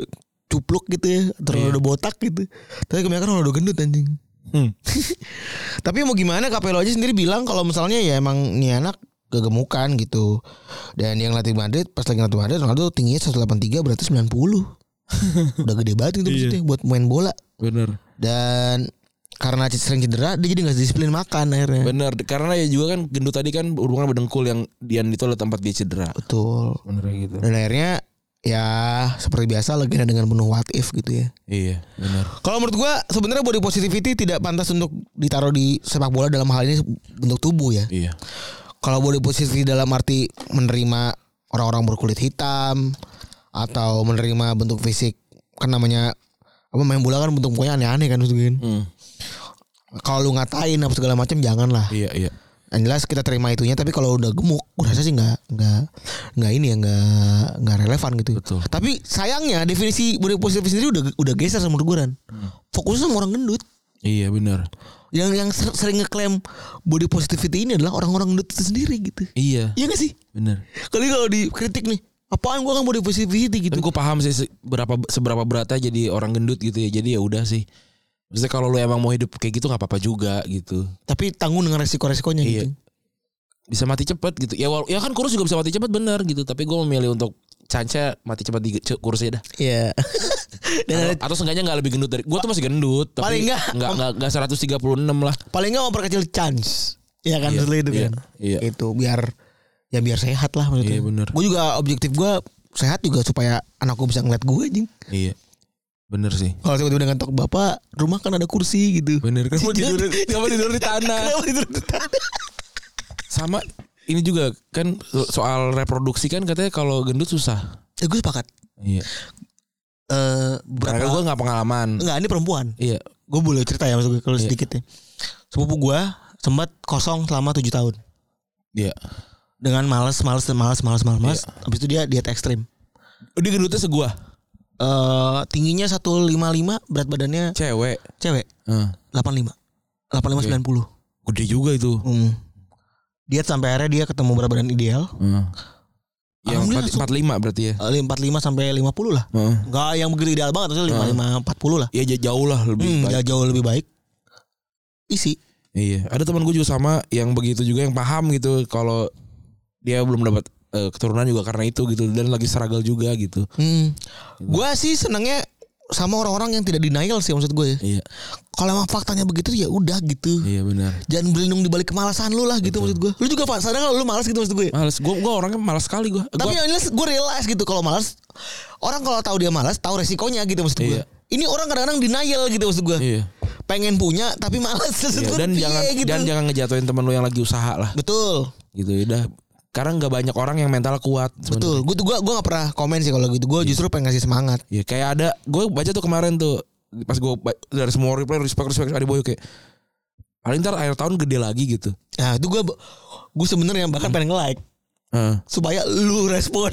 Speaker 2: cupluk gitu ya, atau Ronaldo botak gitu. Tapi kebanyakan Ronaldo gendut anjing.
Speaker 3: Iya. Hmm.
Speaker 2: Tapi mau gimana Capello aja sendiri bilang kalau misalnya ya emang nih anak kegemukan gitu. Dan yang latih Madrid pas lagi latih Madrid Ronaldo tingginya 183 berarti 90. Udah gede banget
Speaker 3: Iya.
Speaker 2: gitu maksudnya buat main bola.
Speaker 3: bener
Speaker 2: Dan karena sering cedera dia jadi nggak disiplin makan akhirnya.
Speaker 3: Bener, karena ya juga kan gendut tadi kan berhubungan sama dengkul yang Dian itu adalah tempat dia cedera.
Speaker 2: Betul.
Speaker 3: Bener gitu.
Speaker 2: Dan akhirnya ya seperti biasa legenda dengan penuh what if gitu ya.
Speaker 3: Iya, bener.
Speaker 2: Kalau menurut gua sebenarnya body positivity tidak pantas untuk ditaruh di sepak bola dalam hal ini bentuk tubuh ya.
Speaker 3: Iya.
Speaker 2: Kalau body positivity dalam arti menerima orang-orang berkulit hitam atau menerima bentuk fisik kan namanya apa main bola kan bentuk mukanya aneh-aneh kan maksudnya kan.
Speaker 3: Hmm.
Speaker 2: Kalau lu ngatain apa segala macam jangan lah.
Speaker 3: Iya, iya.
Speaker 2: Yang jelas kita terima itunya tapi kalau udah gemuk gue rasa sih nggak nggak nggak ini ya nggak nggak relevan gitu
Speaker 3: Betul.
Speaker 2: tapi sayangnya definisi body positif sendiri udah udah geser sama guran
Speaker 3: Hmm.
Speaker 2: fokusnya sama orang gendut
Speaker 3: Iya, bener.
Speaker 2: yang yang ser- sering ngeklaim body positivity ini adalah orang-orang gendut itu sendiri gitu
Speaker 3: Iya,
Speaker 2: iya gak sih
Speaker 3: bener.
Speaker 2: kali kalau dikritik nih apaan gua kan body positivity
Speaker 3: Dan
Speaker 2: gitu
Speaker 3: gue paham sih se- berapa seberapa beratnya jadi orang gendut gitu ya. Jadi ya udah sih. Maksudnya kalau lu emang mau hidup kayak gitu nggak apa-apa juga gitu.
Speaker 2: tapi tanggung dengan resiko-resikonya
Speaker 3: Iya.
Speaker 2: gitu
Speaker 3: Bisa mati cepet gitu. Ya wal- ya kan kurus juga bisa mati cepet bener gitu. Tapi gue memilih untuk canca mati cepet di ce- kurus aja dah.
Speaker 2: iya dan ada,
Speaker 3: Atau, atau seenggaknya nggak lebih gendut dari gue tuh masih gendut. Tapi
Speaker 2: Paling nggak-
Speaker 3: nggak nggak nggak 136 lah.
Speaker 2: paling nggak memperkecil chance ya kan
Speaker 3: Iya,
Speaker 2: setelah itu
Speaker 3: iya,
Speaker 2: kan
Speaker 3: iya.
Speaker 2: itu biar ya biar sehat lah maksudnya.
Speaker 3: Iya, bener.
Speaker 2: Gue juga objektif gue sehat juga supaya anakku bisa ngeliat gue anjing.
Speaker 3: Iya. Bener sih.
Speaker 2: Kalau tiba-tiba dengan tok bapak, rumah kan ada kursi gitu.
Speaker 3: Bener kan mau tidur, kamu tidur di tanah.
Speaker 2: Kenapa tidur di tanah?
Speaker 3: Sama ini juga kan so- soal reproduksi kan katanya kalau gendut susah.
Speaker 2: Ya gue sepakat.
Speaker 3: Iya.
Speaker 2: Eh
Speaker 3: Karena
Speaker 2: berapa?
Speaker 3: gue nggak pengalaman.
Speaker 2: Enggak, ini perempuan.
Speaker 3: Iya.
Speaker 2: Gue boleh cerita ya maksud gue kalau
Speaker 3: Iya.
Speaker 2: sedikit ya. Sepupu gue sempat kosong selama 7 tahun
Speaker 3: Iya.
Speaker 2: dengan malas malas malas malas malas malas. Habis itu dia diet ekstrim.
Speaker 3: Oh, Dia gendutnya segua.
Speaker 2: Eh tingginya 155, berat badannya
Speaker 3: Cewek.
Speaker 2: cewek
Speaker 3: Heeh.
Speaker 2: 85. 85
Speaker 3: Oke.
Speaker 2: 90.
Speaker 3: Gede juga itu.
Speaker 2: Hmm. Diet sampai akhirnya dia ketemu berat badan ideal.
Speaker 3: Heeh. Yang
Speaker 2: Alhamdulillah,
Speaker 3: Iya, empat- 45 berarti ya.
Speaker 2: Eh, 45 sampai 50 lah.
Speaker 3: Heeh.
Speaker 2: Enggak yang begitu ideal banget maksudnya 55 40 lah.
Speaker 3: Ya j- jauh lah Ah. lebih
Speaker 2: Hmm,
Speaker 3: baik.
Speaker 2: ya jauh lebih baik. Isi.
Speaker 3: Iya, ada teman gue juga sama yang begitu juga yang paham gitu kalau dia belum dapat eh, keturunan juga karena itu gitu dan lagi struggle juga gitu.
Speaker 2: Hmm. Gua sih senengnya sama orang-orang yang tidak denial sih maksud gue. ya.
Speaker 3: Iya,
Speaker 2: Kalau emang faktanya begitu ya udah gitu.
Speaker 3: iya benar.
Speaker 2: Jangan berlindung di balik kemalasan lu lah gitu maksud gue. Lu juga Pak, sadar kalau lu malas gitu maksud gue.
Speaker 3: Males, gue gue orangnya malas sekali iya. gue.
Speaker 2: Tapi yang jelas gue realize gitu kalau malas orang kalau tahu dia malas tahu resikonya gitu maksud gue.
Speaker 3: Iya.
Speaker 2: Ini orang kadang-kadang denial gitu maksud gue.
Speaker 3: iya.
Speaker 2: Pengen punya tapi malas maksud
Speaker 3: Iya,
Speaker 2: gue.
Speaker 3: dan
Speaker 2: Piye
Speaker 3: jangan
Speaker 2: gitu.
Speaker 3: dan jangan ngejatuhin teman lu yang lagi usaha lah
Speaker 2: Betul.
Speaker 3: gitu ya udah. Karena nggak banyak orang yang mental kuat. sebenarnya.
Speaker 2: Betul, gue tuh gue gue gak pernah komen sih kalau gitu. Gue justru pengen ngasih semangat.
Speaker 3: Iya, kayak ada gue baca tuh kemarin tuh pas gue ba- dari semua replay respect respect Adi Boyo kayak paling ntar akhir tahun gede lagi gitu.
Speaker 2: Nah itu gue gue sebenarnya
Speaker 3: Hmm.
Speaker 2: bahkan pengen like
Speaker 3: Heeh.
Speaker 2: supaya lu respon.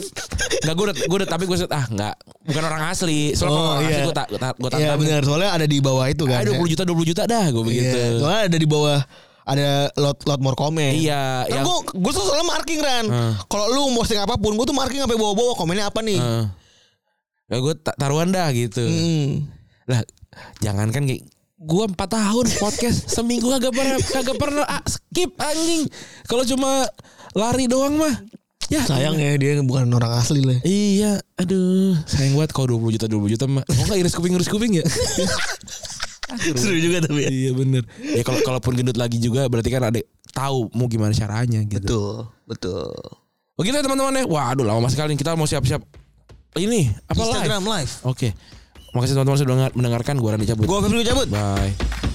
Speaker 3: Enggak gue udah, gue udah tapi gue set- ah enggak bukan orang asli. Soalnya
Speaker 2: Oh,
Speaker 3: kalau orang asli
Speaker 2: iya.
Speaker 3: gue tak gue tak gue tak
Speaker 2: Iya benar, soalnya ada di bawah itu kan.
Speaker 3: Ah, 20
Speaker 2: ya.
Speaker 3: juta 20 juta dah gue begitu.
Speaker 2: Iya, Soalnya ada di bawah ada lot lot more komen.
Speaker 3: Iya,
Speaker 2: Kan
Speaker 3: yang-
Speaker 2: gue gue tuh soalnya marking kan.
Speaker 3: Hmm.
Speaker 2: Kalau lu posting apapun, gue tuh marking sampai bawa-bawa komennya apa nih.
Speaker 3: Heeh. Ya gue ta- taruhan dah gitu.
Speaker 2: Hmm.
Speaker 3: Lah jangankan kayak gue 4 tahun podcast seminggu kagak pernah kagak pernah ah, skip anjing. Kalau cuma lari doang mah. Ya
Speaker 2: Sayang ya dia bukan orang asli lah.
Speaker 3: Iya, aduh, sayang banget kalau 20 juta 20 juta mah. Mau enggak iris kuping iris kuping ya?
Speaker 2: Seru juga tapi ya.
Speaker 3: iya bener Ya kalau kalaupun gendut lagi juga berarti kan ada tahu mau gimana caranya gitu.
Speaker 2: Betul, betul.
Speaker 3: Begitu ya teman-teman ya. Waduh lama sekali kita mau siap-siap ini apa live?
Speaker 2: Instagram live.
Speaker 3: Oke. Makasih teman-teman sudah mendengarkan gua Randy cabut.
Speaker 2: Gue Febri cabut.
Speaker 3: Bye.